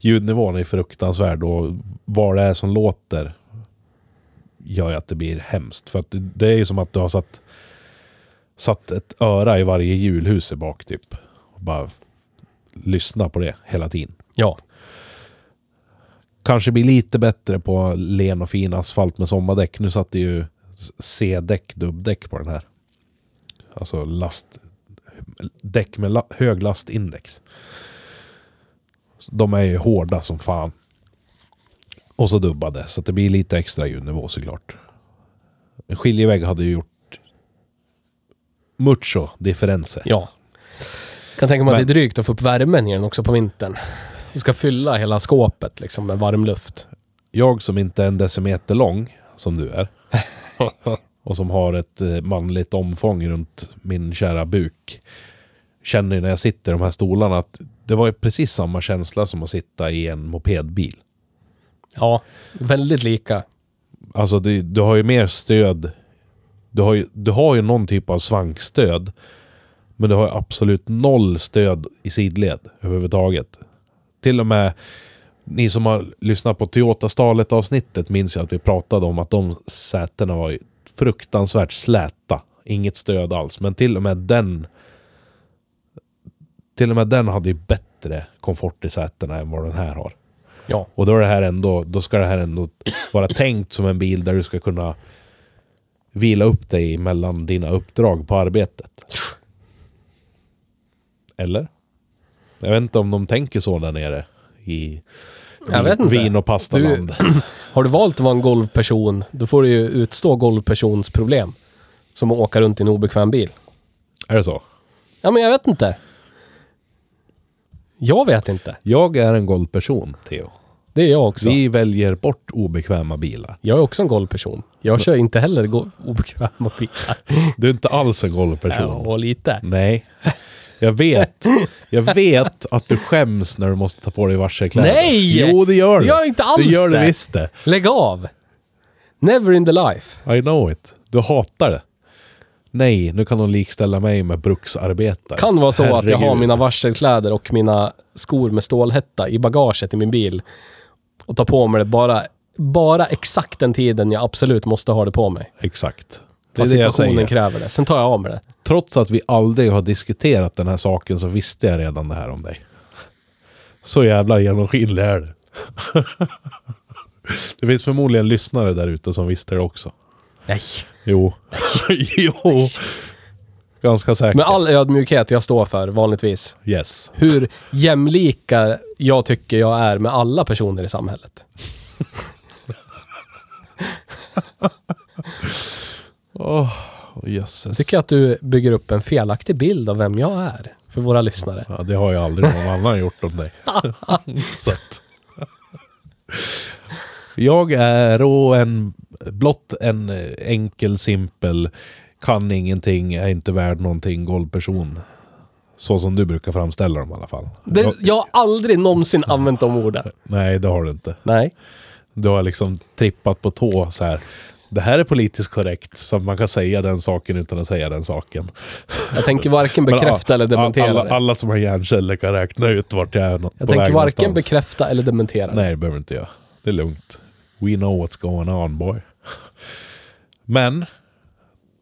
A: Ljudnivån är fruktansvärd och vad det är som låter gör ju att det blir hemskt. För att det, det är ju som att du har satt, satt ett öra i varje julhus i bak typ. Och bara lyssna på det hela tiden.
B: ja.
A: Kanske blir lite bättre på len och fin asfalt med sommardäck. Nu satt det ju C-däck, dubbdäck på den här. Alltså last... Däck med la, hög lastindex. Så De är ju hårda som fan. Och så dubbade, så att det blir lite extra ljudnivå såklart. En skiljevägg hade ju gjort mucho differenser.
B: Ja. Kan tänka mig att
A: Men-
B: det är drygt att få upp värmen i den också på vintern. Du ska fylla hela skåpet liksom med varm luft.
A: Jag som inte är en decimeter lång, som du är, och som har ett eh, manligt omfång runt min kära buk känner ju när jag sitter i de här stolarna att det var ju precis samma känsla som att sitta i en mopedbil.
B: Ja, väldigt lika.
A: Alltså du, du har ju mer stöd. Du har, ju, du har ju någon typ av svankstöd. Men du har ju absolut noll stöd i sidled överhuvudtaget. Till och med ni som har lyssnat på Toyota-stalet avsnittet minns jag att vi pratade om att de sätena var ju fruktansvärt släta. Inget stöd alls. Men till och med den till och med den hade ju bättre komfort i sätena än vad den här har.
B: Ja,
A: Och då, är det här ändå, då ska det här ändå vara tänkt som en bil där du ska kunna vila upp dig mellan dina uppdrag på arbetet. Eller? Jag vet inte om de tänker så där nere i
B: Jag vet inte.
A: vin och pastaland.
B: Har du (clears throat) valt att vara en golvperson, då får du ju utstå golvpersons problem. Som att åka runt i en obekväm bil.
A: Är det så?
B: Ja, men jag vet inte. Jag vet inte.
A: Jag är en golvperson, Theo.
B: Det är jag också.
A: Vi väljer bort obekväma bilar.
B: Jag är också en golvperson. Jag kör inte heller go- obekväma
A: (laughs)
B: bilar.
A: Du är inte alls en golvperson.
B: Ja, lite.
A: Nej. Jag vet. Jag vet att du skäms när du måste ta på dig varselkläder.
B: Nej!
A: Jo, det gör du.
B: Jag är inte alls
A: Du gör det
B: det.
A: visst det.
B: Lägg av! Never in the life.
A: I know it. Du hatar det. Nej, nu kan de likställa mig med bruksarbetare.
B: Kan vara så att jag har
A: Herregud.
B: mina varselkläder och mina skor med stålhätta i bagaget i min bil och tar på mig det bara, bara exakt den tiden jag absolut måste ha det på mig.
A: Exakt. Det är
B: Fast
A: det jag
B: situationen
A: säger.
B: kräver det. Sen tar jag av mig det.
A: Trots att vi aldrig har diskuterat den här saken så visste jag redan det här om dig. Så jävla genomskinlig är du. (laughs) Det finns förmodligen lyssnare där ute som visste det också.
B: Nej.
A: Jo. (laughs) jo. Ganska säkert.
B: Med all ödmjukhet jag står för vanligtvis.
A: Yes.
B: Hur jämlika jag tycker jag är med alla personer i samhället.
A: Jösses.
B: Tycker jag att du bygger upp en felaktig bild av vem jag är för våra lyssnare.
A: Ja, det har ju aldrig någon annan gjort om
B: (laughs)
A: dig. Så att. Jag är och en, blott en eh, enkel, simpel, kan ingenting, är inte värd någonting, golvperson. Så som du brukar framställa dem i alla fall.
B: Det,
A: Jag,
B: jag har aldrig någonsin använt de orden.
A: nej, det har du inte.
B: Nej.
A: Du har liksom trippat på tå så här. Det här är politiskt korrekt, så att man kan säga den saken utan att säga den saken.
B: Jag tänker varken
A: Men,
B: bekräfta
A: ja,
B: eller dementera
A: alla,
B: det.
A: alla som har hjärnceller kan räkna ut vart jag är nå-
B: Jag
A: på
B: tänker
A: väg
B: varken
A: någonstans.
B: bekräfta eller dementera det.
A: Nej, det behöver inte jag. Det är lugnt. We know what's going on boy. Men,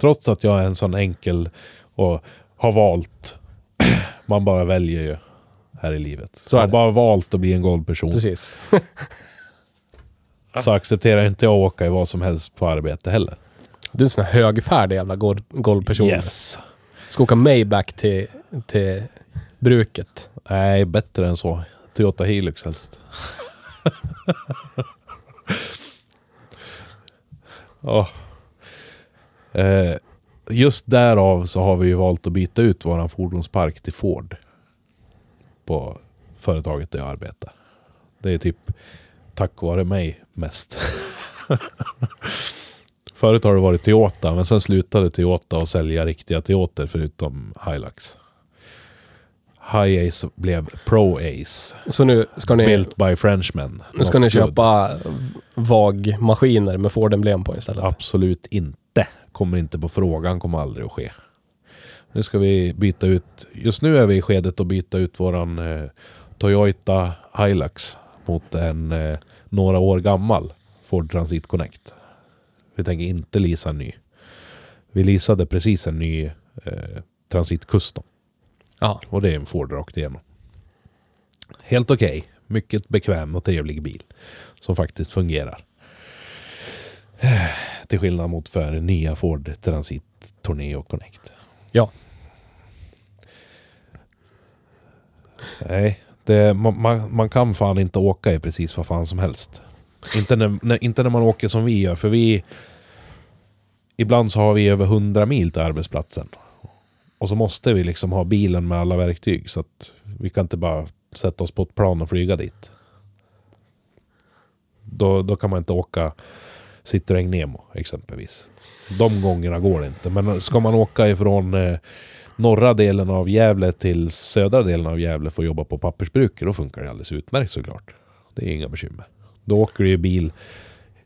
A: trots att jag är en sån enkel och har valt, (clears throat) man bara väljer ju här i livet.
B: Så
A: jag
B: är
A: har
B: det.
A: bara valt att bli en golvperson.
B: Precis.
A: Så accepterar inte jag att åka i vad som helst på arbete heller.
B: Du är en sån här högfärdig jävla gol- golvperson.
A: Yes.
B: Ska åka Maybach till, till bruket.
A: Nej, bättre än så Toyota Hilux helst. (laughs) ja. eh, just därav så har vi ju valt att byta ut vår fordonspark till Ford. På företaget där jag arbetar. Det är typ tack vare mig mest. (laughs) Förut har det varit Toyota, men sen slutade Toyota att sälja riktiga Toyotor förutom Hilux. High Ace blev Pro Ace.
B: Så nu ska ni,
A: Built by Frenchmen.
B: nu ska
A: Not
B: ni
A: good.
B: köpa VAG-maskiner med Ford-emblem på istället.
A: Absolut inte. Kommer inte på frågan, kommer aldrig att ske. Nu ska vi byta ut, just nu är vi i skedet att byta ut våran eh, Toyota Hilux mot en eh, några år gammal Ford Transit Connect. Vi tänker inte leasa en ny. Vi leasade precis en ny eh, Transit Custom.
B: Ja.
A: Och det är en Ford rakt igenom. Helt okej. Mycket bekväm och trevlig bil. Som faktiskt fungerar. (sighs) Till skillnad mot för nya Ford Transit Torneo Connect.
B: ja.
A: Nej, det, man, man, man kan fan inte åka i precis vad fan som helst. Inte när, när, inte när man åker som vi gör, för vi... Ibland så har vi över 100 mil till arbetsplatsen. Och så måste vi liksom ha bilen med alla verktyg, så att vi kan inte bara sätta oss på ett plan och flyga dit. Då, då kan man inte åka Citroën Nemo exempelvis. De gångerna går det inte. Men ska man åka ifrån eh, norra delen av Gävle till södra delen av Gävle för att jobba på pappersbruket, då funkar det alldeles utmärkt såklart. Det är inga bekymmer. Då åker du i bil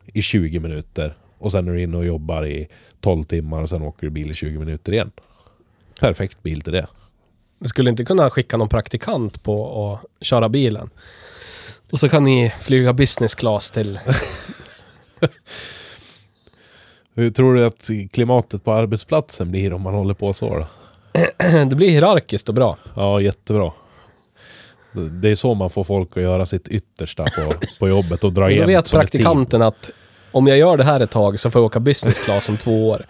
A: i 20 minuter och sen är du inne och jobbar i 12 timmar och sen åker du bil i 20 minuter igen. Perfekt bil till det.
B: Du skulle inte kunna skicka någon praktikant på att köra bilen. Och så kan ni flyga business class till... (laughs)
A: Hur tror du att klimatet på arbetsplatsen blir om man håller på så då?
B: Det blir hierarkiskt och bra.
A: Ja, jättebra. Det- Det är så man får folk att göra sitt yttersta på, på jobbet och dra
B: Men då
A: igen
B: vet
A: som ett team.
B: praktikanten att om jag gör det här ett tag så får jag åka business class om två (laughs) år.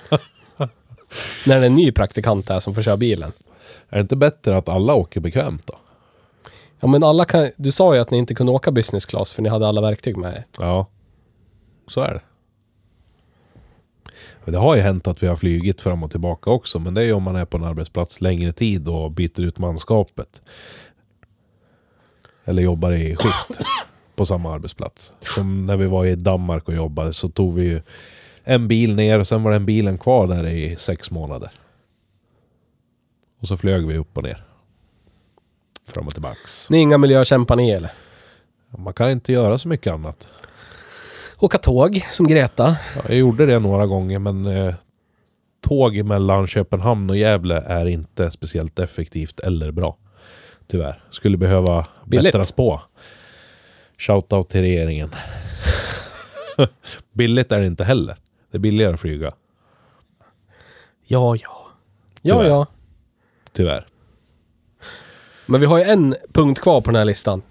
B: När det är en ny praktikant där som får köra bilen.
A: Är det inte bättre att alla åker bekvämt då?
B: Ja, men alla kan, du sa ju att ni inte kunde åka business class för ni hade alla verktyg med er.
A: Ja, så är det. Men Det har ju hänt att vi har flugit fram och tillbaka också, men det är ju om man är på en arbetsplats längre tid och byter ut manskapet. Eller jobbar i skift på samma arbetsplats. Som när vi var i Danmark och jobbade så tog vi ju en bil ner och sen var den bilen kvar där i sex månader. Och så flög vi upp och ner. Fram och tillbaks.
B: Ni är inga miljökämpar ni eller?
A: Man kan inte göra så mycket annat.
B: Åka tåg som Greta.
A: Ja, jag gjorde det några gånger, men eh, tåg mellan Köpenhamn och Gävle är inte speciellt effektivt eller bra. Tyvärr. Skulle behöva
B: Billigt.
A: bättras på. Shoutout till regeringen. (laughs) Billigt är det inte heller. Det är billigare att flyga,
B: Ja, ja. Ja,
A: Tyvärr.
B: ja.
A: tyvärr.
B: Men vi har ju en punkt kvar på den här listan.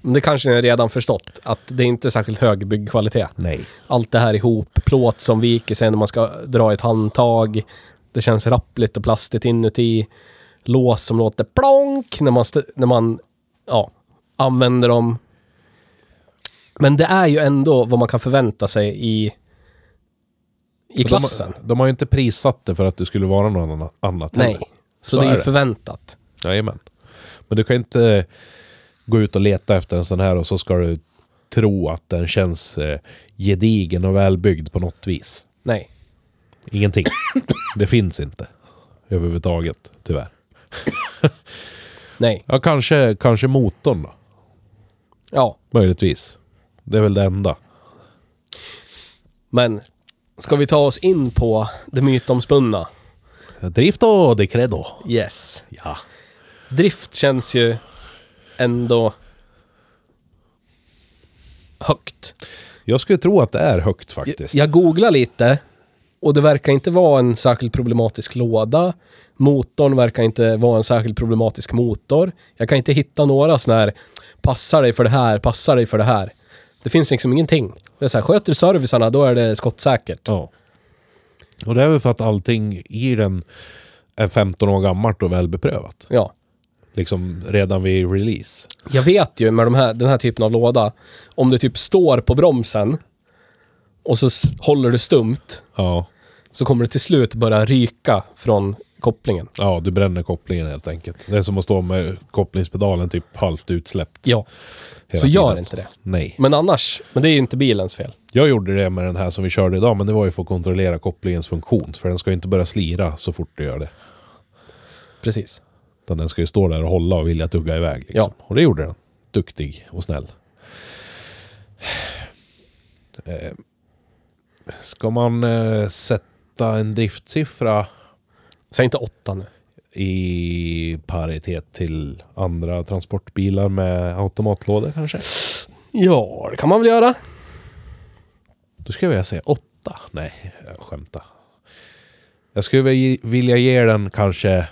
B: Men det kanske ni redan förstått, att det är inte särskilt hög byggkvalitet.
A: Nej.
B: Allt det här ihop, plåt som viker sig när man ska dra i ett handtag. Det känns rappligt och plastigt inuti. Lås som låter plonk när man, st- när man ja, använder dem. Men det är ju ändå vad man kan förvänta sig i, i
A: Och de har-
B: klassen.
A: De har ju inte prissatt det för att det skulle vara något annan- annat
B: Nej.
A: heller.
B: Så,
A: Mm. Så
B: det är
A: är
B: ju
A: det.
B: förväntat.
A: Jajamän. Men du kan inte gå ut och leta efter en sån här och så ska du tro att den känns eh, gedigen och välbyggd på något vis.
B: Nej.
A: Ingenting. Det finns inte. Överhuvudtaget, tyvärr.
B: Nej.
A: Ja, kanske, kanske motorn då.
B: Ja.
A: Möjligtvis. Det är väl det enda.
B: Men ska vi ta oss in på det mytomspunna?
A: Drifto de credo.
B: Yes.
A: Ja.
B: Drift känns ju ändå högt.
A: Jag skulle tro att det är högt faktiskt.
B: Jag googlar lite och det verkar inte vara en särskilt problematisk låda. Motorn verkar inte vara en särskilt problematisk motor. Jag kan inte hitta några sådana här, passar dig för det här, passar dig för det här. Det finns liksom ingenting. Det är så här, sköter du servicerna, då är det skottsäkert.
A: Ja. Och det är väl för att allting i den är 15 år gammalt och välbeprövat.
B: Ja.
A: Liksom redan vid release.
B: Jag vet ju med de här, den här typen av låda, om du typ står på bromsen och så s- håller du stumt,
A: Ja,
B: så kommer det till slut börja ryka från kopplingen.
A: ja du bränner kopplingen helt enkelt. Det är som att stå med kopplingspedalen typ halvt utsläppt.
B: Ja,
A: hela
B: så gör
A: tiden.
B: inte det.
A: Nej.
B: Men annars, men det är ju inte bilens fel.
A: Jag gjorde det med den här som vi körde idag, men det var ju för att kontrollera kopplingens funktion. För den ska ju inte börja slira så fort du gör det.
B: Precis.
A: Utan den ska ju stå där och hålla och vilja tugga iväg. Liksom. Och det gjorde den. Duktig och snäll. Eh, Ska man eh, sätta en driftsiffra
B: Säg inte åtta nu.
A: i paritet till andra transportbilar med automatlådor kanske?
B: Ja, det kan man väl göra.
A: Då skulle jag vilja säga åtta. Nej, jag skämtar. Jag skulle väl ge- vilja ge den kanske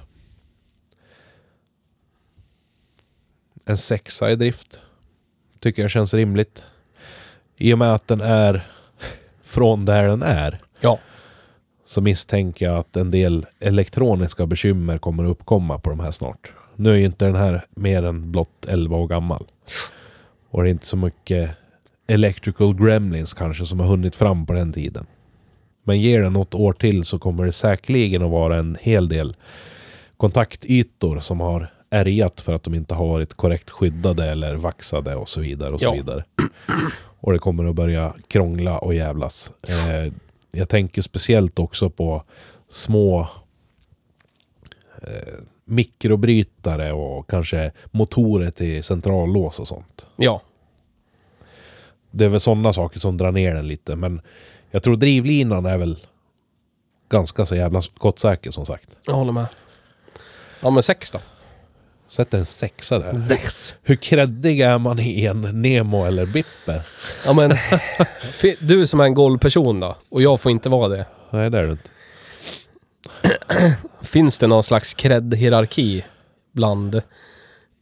A: en sexa i drift. Tycker jag känns rimligt. I och med att den är från där den är
B: Ja.
A: så misstänker jag att en del elektroniska bekymmer kommer att uppkomma på de här snart. Nu är ju inte den här mer än blott 11 år gammal. Och det är inte så mycket electrical gremlins kanske som har hunnit fram på den tiden. Men ger den något år till så kommer det säkerligen att vara en hel del kontaktytor som har ärgat för att de inte har varit korrekt skyddade eller vaxade och så vidare. Och så
B: Ja.
A: vidare. Och det kommer att börja krångla och jävlas. Eh, jag tänker speciellt också på små eh, mikrobrytare och kanske motorer till centrallås och sånt.
B: Ja.
A: Det är väl sådana saker som drar ner den lite, men jag tror drivlinan är väl ganska så jävla skottsäker som sagt.
B: Jag håller med. Ja, men sex då.
A: Sätter en sexa där.
B: Sex.
A: Hur kreddig är man i en Nemo eller Bipper?
B: Ja, men (laughs) fi- du som är en golvperson då, och jag får inte vara det.
A: Nej, det är det inte.
B: Finns det någon slags cred-hierarki bland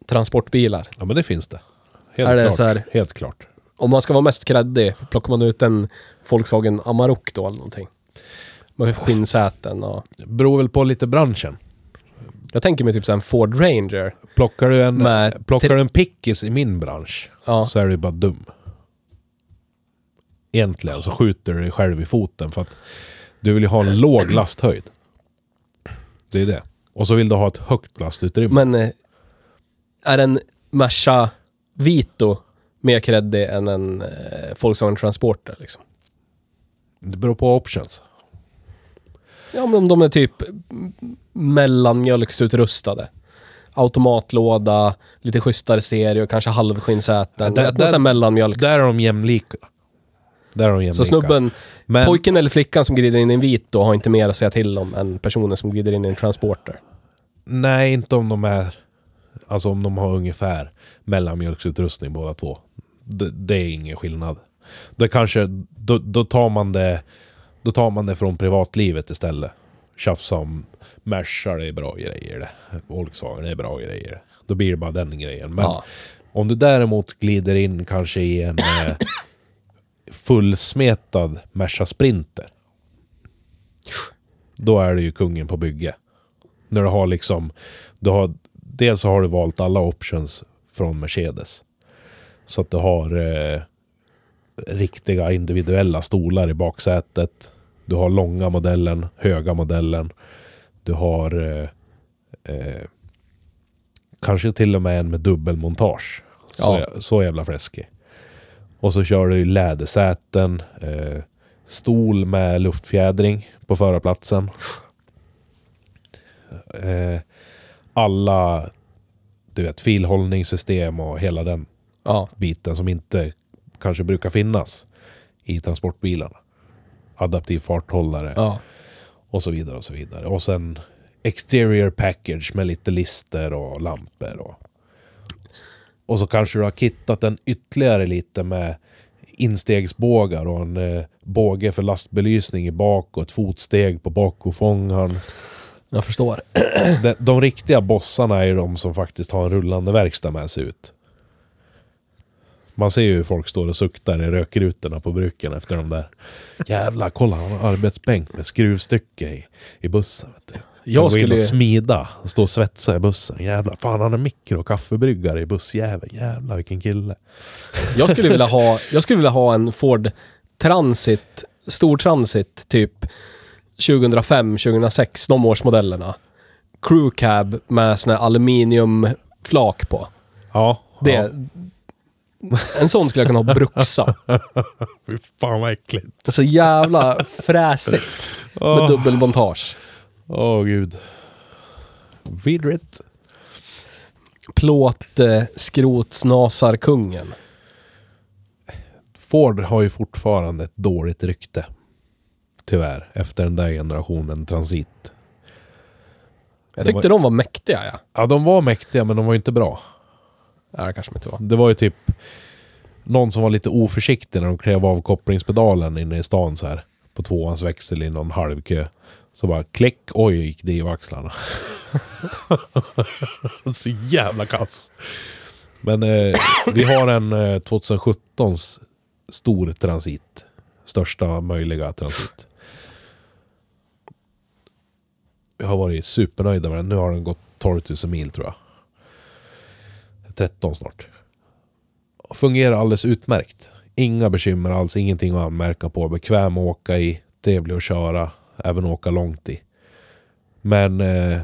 B: transportbilar?
A: Ja, men det finns det. Helt
B: Är det
A: klart.
B: så här-
A: Helt klart.
B: Om man ska vara mest creddig, plockar man ut en Volkswagen Amarok då eller någonting? Med skinnsäten och...
A: Beror väl på lite branschen.
B: Jag tänker mig typ så här en Ford Ranger.
A: Plockar du en,
B: Med-
A: plockar du en pickis i min bransch
B: Ja.
A: så är du bara dum. Egentligen så skjuter du dig själv i foten för att du vill ju ha en låg lasthöjd. Det är det. Och så vill du ha ett högt lastutrymme.
B: Men eh, är en Merca Vito mer creddig än en eh, Volkswagen Transporter liksom?
A: Det beror på options.
B: Ja, men om de är typ m- mellanmjölksutrustade. Automatlåda, lite schysstare stereo, kanske halvskinnsäten.
A: Där-
B: Där, där,
A: där-
B: mellanmjölks.
A: Där är de jämlika. Där är de jämlika.
B: så snubben,
A: Men
B: pojken eller flickan som glider in i en vit då har inte mer att säga till om än personen som glider in i en transporter.
A: nej, inte om de är... Alltså om de har ungefär mellanmjölksutrustning båda två. Det, det är ingen skillnad. Det kanske, då, då, tar man det, då tar man det från privatlivet istället. Tjafsa om Merca, det är bra grejer det. Volkswagen, det är bra grejer det. Då blir det bara den grejen. Men
B: Ja.
A: om du däremot glider in kanske i en eh, fullsmetad Merca Sprinter. Då är du ju kungen på bygge. När du har liksom, du har, dels så har du valt alla options från Mercedes. Så att du har eh, riktiga individuella stolar i baksätet. Du har långa modellen, höga modellen. Du har eh, eh, kanske till och med en med dubbelmontage. Så, så jävla fläskig. Och så kör du ju lädersäten, eh, stol med luftfjädring på förarplatsen. Eh, alla, du vet, filhållningssystem och hela den
B: Ja,
A: biten som inte kanske brukar finnas i transportbilarna. Adaptiv farthållare
B: ja.
A: och så vidare och så vidare. Och sen exterior package med lite lister och lampor och... Och så kanske du har kittat den ytterligare lite med instegsbågar och en eh, båge för lastbelysning i bak och ett fotsteg på bakofångaren.
B: Jag förstår.
A: De, de riktiga bossarna är ju de som faktiskt har en rullande verkstad med sig ut. Man ser ju hur folk står och suktar i rökrutorna på bruken efter de där. Jävlar, kolla han har arbetsbänk med skruvstycke i, i bussen. Vet du. Jag
B: Jag
A: skulle... in
B: skulle
A: och
B: ju...
A: smida och stå och svetsa i bussen. Jävlar, fan han är mikro och kaffebryggare i bussjäveln. Jävlar vilken kille.
B: Jag skulle vilja ha, jag skulle vilja ha en Ford Transit, stor Transit, typ 2005, 2006, de årsmodellerna. Crew cab med såna här aluminiumflak på.
A: Ja.
B: Det,
A: ja.
B: En sån skulle jag kunna ha bruxa.
A: Fy fan vad äckligt.
B: Så jävla fräsigt
A: Åh,
B: med dubbelmontage.
A: åh, gud. Vidrigt.
B: Plåt, eh, skrotsnasar kungen.
A: Ford har ju fortfarande ett dåligt rykte. Tyvärr, efter den där generationen transit.
B: Jag
A: Det var-
B: tyckte de var mäktiga, ja.
A: Ja, de var mäktiga men de var ju inte bra.
B: Ja, det kanske de inte var.
A: Det var ju typ någon som var lite oförsiktig när de klev av kopplingspedalen inne i stan så här. På tvåans växel i någon halvkö. Så bara klick, oj gick det i axlarna. (laughs) så jävla kass. Men eh, vi har en eh, 2017 stor transit. Största möjliga transit. Jag har varit supernöjda med den. Nu har den gått 12 000 mil tror jag. 13 snart fungerar alldeles utmärkt. Inga bekymmer alls, ingenting att anmärka på. Bekväm att åka i, trevlig att köra, även åka långt i. Men eh,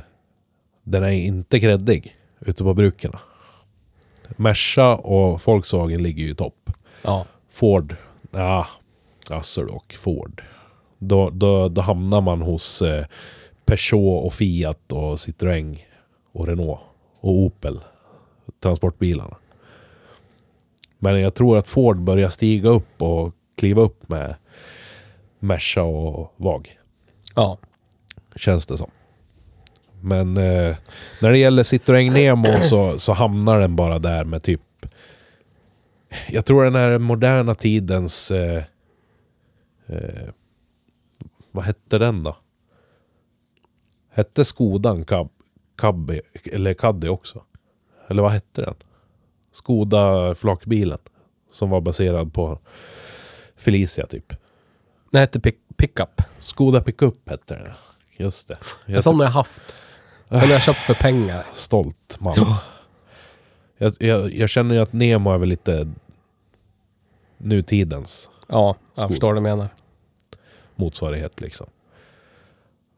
A: den är inte kreddig ute på bruken. Merca och Volkswagen ligger ju i topp.
B: Ja. Ford.
A: Ja, alltså och Ford. Då, då, då hamnar man hos eh, Peugeot och Fiat och Citroën och Renault och Opel. Transportbilarna. Men jag tror att Ford börjar stiga upp och kliva upp med Merca och VAG.
B: Ja.
A: Känns det som. Men eh, när det gäller Citroën Nemo så, så hamnar den bara där med typ... Jag tror den är den moderna tidens... Eh, eh, vad hette den då? Hette Skodan Cab, Cabby, eller Caddy också? Eller vad hette den? Skoda flakbilen. Som var baserad på Felicia typ.
B: Den hette pick- Pickup.
A: Skoda Pickup hette den. Just det.
B: En sån har jag haft. Sen har jag köpt för pengar.
A: stolt man. Jag, jag, jag känner ju att Nemo är väl lite nutidens
B: Ja, jag
A: Skor.
B: förstår vad du menar.
A: motsvarighet liksom.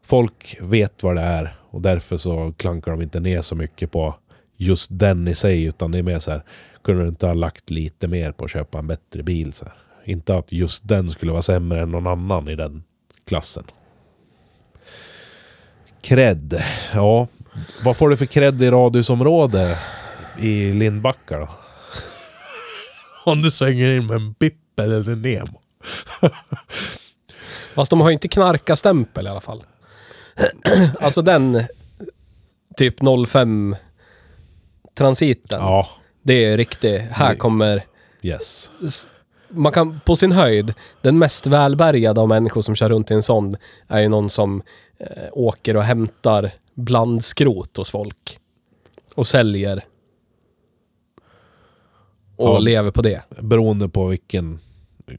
A: Folk vet vad det är och därför så klankar de inte ner så mycket på just den i sig utan det är mer så här, kunde du inte ha lagt lite mer på att köpa en bättre bil? Så här. Inte att just den skulle vara sämre än någon annan i den klassen. Cred, ja. Vad får du för cred i radhusområde i Lindbacka då? (laughs) Om du svänger in med en Bipp eller en Nemo.
B: Fast de har ju inte knarkastämpel i alla fall. (clears throat) alltså den typ 05 transiten.
A: Ja,
B: Det är riktigt. Här
A: Nej.
B: kommer...
A: yes.
B: s- Man kan på sin höjd, den mest välbärgade av människor som kör runt i en sån är ju någon som eh, åker och hämtar blandskrot hos folk. Och säljer. Och
A: Ja.
B: lever på det.
A: Beroende på vilken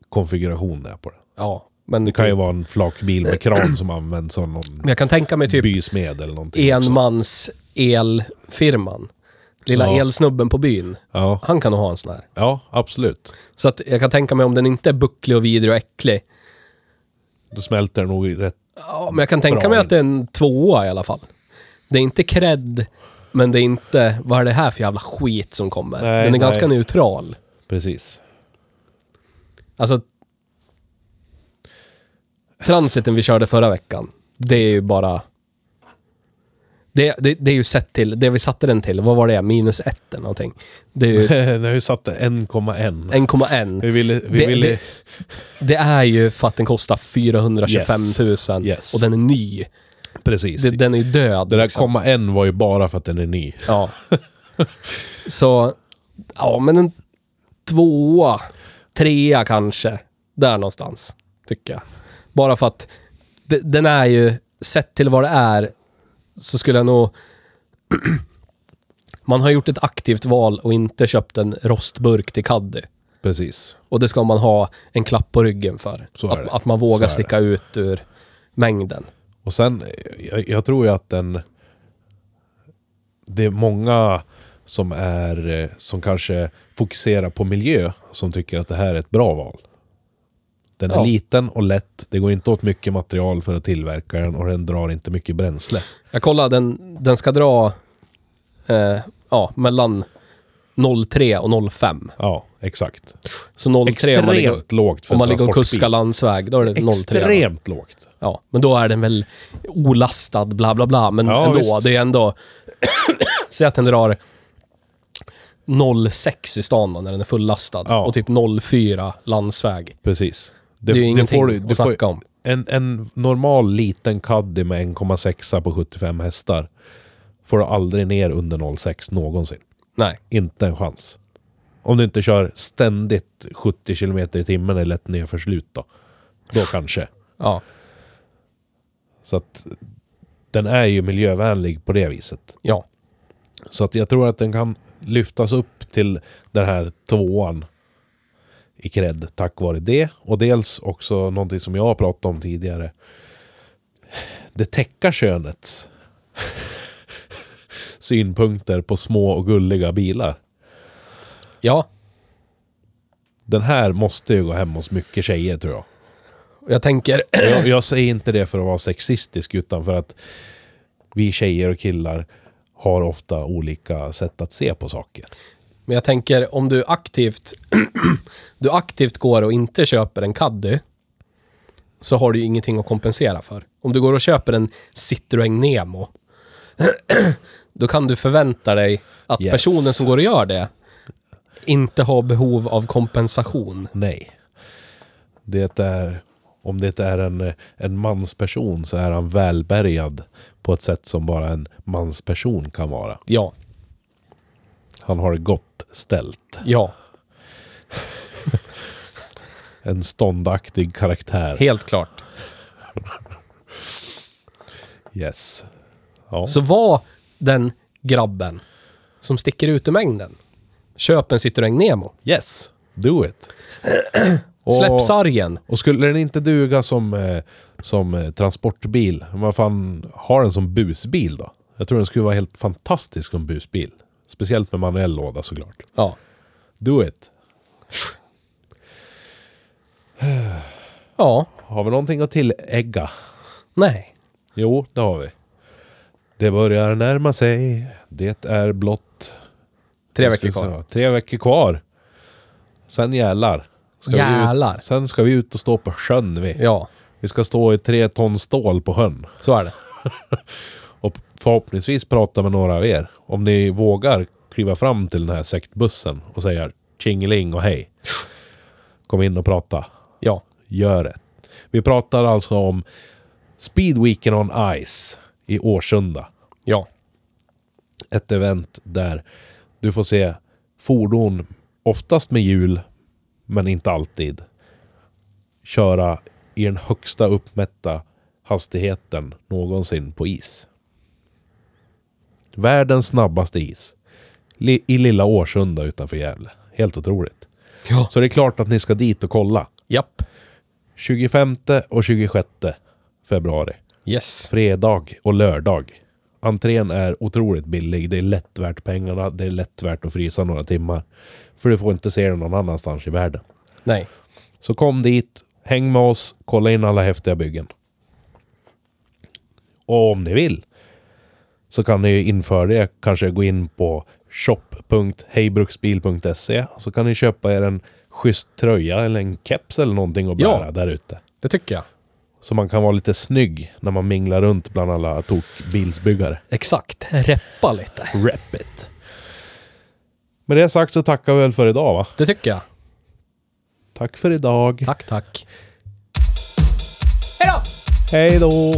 A: konfiguration det är på den.
B: Ja. Men
A: Det kan ju vara en flakbil med kran som används av någon
B: Men jag kan tänka mig typ
A: bysmed eller någonting. också.
B: enmans elfirman. Lilla
A: Ja.
B: elsnubben på byn.
A: Ja,
B: Han kan nog ha en sån här.
A: ja, absolut.
B: Så att jag kan tänka mig om den inte är bucklig och vidrig och äcklig.
A: Då smälter den nog rätt.
B: Ja, men jag kan tänka
A: Bra
B: mig
A: in.
B: att det är en tvåa i alla fall. Det är inte cred, men det är inte vad är det här för jävla skit som kommer.
A: Nej,
B: den är
A: nej.
B: ganska neutral.
A: Precis. (laughs)
B: Alltså... Transiten vi körde förra veckan, det är ju bara... Det, det, det är ju sett till, det vi satte den till, vad var det? Minus ett eller någonting. Det är ju
A: När vi satte 1,1.
B: 1,1.
A: Vi ville... Vi
B: Det-
A: ville
B: det- Det är ju för att den kostar 425 000
A: Yes.
B: och den är ny.
A: precis.
B: Det,
A: Det,
B: den är ju död.
A: där
B: liksom.
A: 1,1 var ju bara för att den är ny.
B: Ja. (laughs) Så, ja men en tvåa, trea kanske. Där någonstans, tycker jag. Bara för att de- den är ju, sett till vad det är, så skulle jag nog... (clears throat) man har gjort ett aktivt val och inte köpt en rostburk till Caddy.
A: Precis.
B: Och det ska man ha en klapp på ryggen för.
A: Så är
B: Att,
A: det.
B: att man
A: Så är
B: vågar
A: det.
B: sticka ut ur mängden.
A: Och sen, jag, jag tror ju att den... Det är många som är eh, som kanske fokuserar på miljö som tycker att det här är ett bra val. Den är
B: Ja.
A: liten och lätt, det går inte åt mycket material för att tillverka den och den drar inte mycket bränsle.
B: Jag kollar, den, den ska dra eh, ja, mellan 03 och 05.
A: Ja, exakt.
B: Så 03 om man ligger,
A: Extremt lågt för
B: om man ligger och
A: transportbil.
B: kuskar landsväg, då är det 03.
A: Extremt lågt.
B: Ja, men då är den väl olastad, bla bla bla. Men
A: Ja,
B: ändå,
A: visst.
B: det är ändå... (coughs) Säg att den drar 06 i stan då, när den är fullastad.
A: Ja.
B: Och typ 04 landsväg.
A: Precis.
B: Det, är ju ingenting
A: får du- du
B: att
A: får-
B: snacka om.
A: En, en normal liten Caddy med 1,6 på 75 hästar får du aldrig ner under 0,6 någonsin.
B: Nej.
A: Inte en chans. Om du inte kör ständigt 70 km i timmen i lätt nedförslut då. Då kanske.
B: Ja.
A: Så att den är ju miljövänlig på det viset.
B: Ja.
A: Så att jag tror att den kan lyftas upp till den här tvåan i cred tack vare det. Och dels också någonting som jag har pratat om tidigare. Det täcker könets (laughs) synpunkter på små och gulliga bilar.
B: Ja.
A: Den här måste ju gå hem hos mycket tjejer tror jag.
B: Och Jag tänker... (clears throat)
A: Och Jag, jag säger inte det för att vara sexistisk utan för att vi tjejer och killar har ofta olika sätt att se på saker.
B: Men jag tänker om du aktivt, (clears throat) du aktivt går och inte köper en Caddy så har du ju ingenting att kompensera för. Om du går och köper en Citroën Nemo (clears throat) då kan du förvänta dig att
A: Yes.
B: personen som går och gör det inte har behov av kompensation.
A: Nej. Det är, om det är en, en mansperson så är han välbärgad på ett sätt som bara en mansperson kan vara.
B: Ja,
A: Han har det gott ställt.
B: ja,
A: En ståndaktig karaktär.
B: helt klart.
A: Yes. Ja.
B: Så var den grabben som sticker ut ur mängden. Köp en Citroën Nemo.
A: Yes. Do it. Och-
B: (clears throat) Släpp sargen.
A: Och skulle den inte duga som, eh, som eh, transportbil, vad fan, har den som busbil då? Jag tror den skulle vara helt fantastisk som busbil. Speciellt med manuell låda såklart.
B: Ja.
A: Do it.
B: ja,
A: Har vi någonting att tillägga?
B: nej.
A: Jo, det har vi. Det börjar närma sig. Det är blott...
B: Tre
A: vad ska
B: veckor
A: vi
B: kvar.
A: säga, Tre veckor kvar. Sen jävlar. Ska vi ut-
B: Jävlar.
A: Sen ska vi ut och stå på sjön vi.
B: Ja,
A: Vi ska stå i tre ton stål på sjön.
B: så är det.
A: Och förhoppningsvis prata med några av er. Om ni vågar kliva fram till den här sektbussen och säga tjingeling och hej. Kom in och prata.
B: Ja,
A: Gör det. Vi pratar alltså om Speedweeken on Ice i Årsunda.
B: ja,
A: ett event där du får se fordon, oftast med hjul, men inte alltid, köra i den högsta uppmätta hastigheten någonsin på is. Världens snabbaste is. Li- I lilla Årsunda utanför Gävle. Helt otroligt.
B: Ja.
A: Så det är klart att ni ska dit och kolla.
B: japp,
A: 25 och 26 februari
B: yes,
A: fredag och lördag. Entrén är otroligt billig. Det är lätt värt pengarna. Det är lätt värt att frysa några timmar. För du får inte se den någon annanstans i världen.
B: nej,
A: Så kom dit, häng med oss, kolla in alla häftiga byggen. Och om ni vill så kan ni ju inför det kanske gå in på shop.hejbruksbil.se så kan ni köpa er en schysst tröja eller en keps eller någonting och
B: Ja.
A: bära där ute.
B: det tycker jag.
A: Så man kan vara lite snygg när man minglar runt bland alla tokbilsbyggare.
B: Exakt, reppa lite.
A: Rep it. Med det sagt så tackar vi väl för idag va?
B: Det tycker jag.
A: Tack för idag.
B: Tack, tack.
A: Hej då!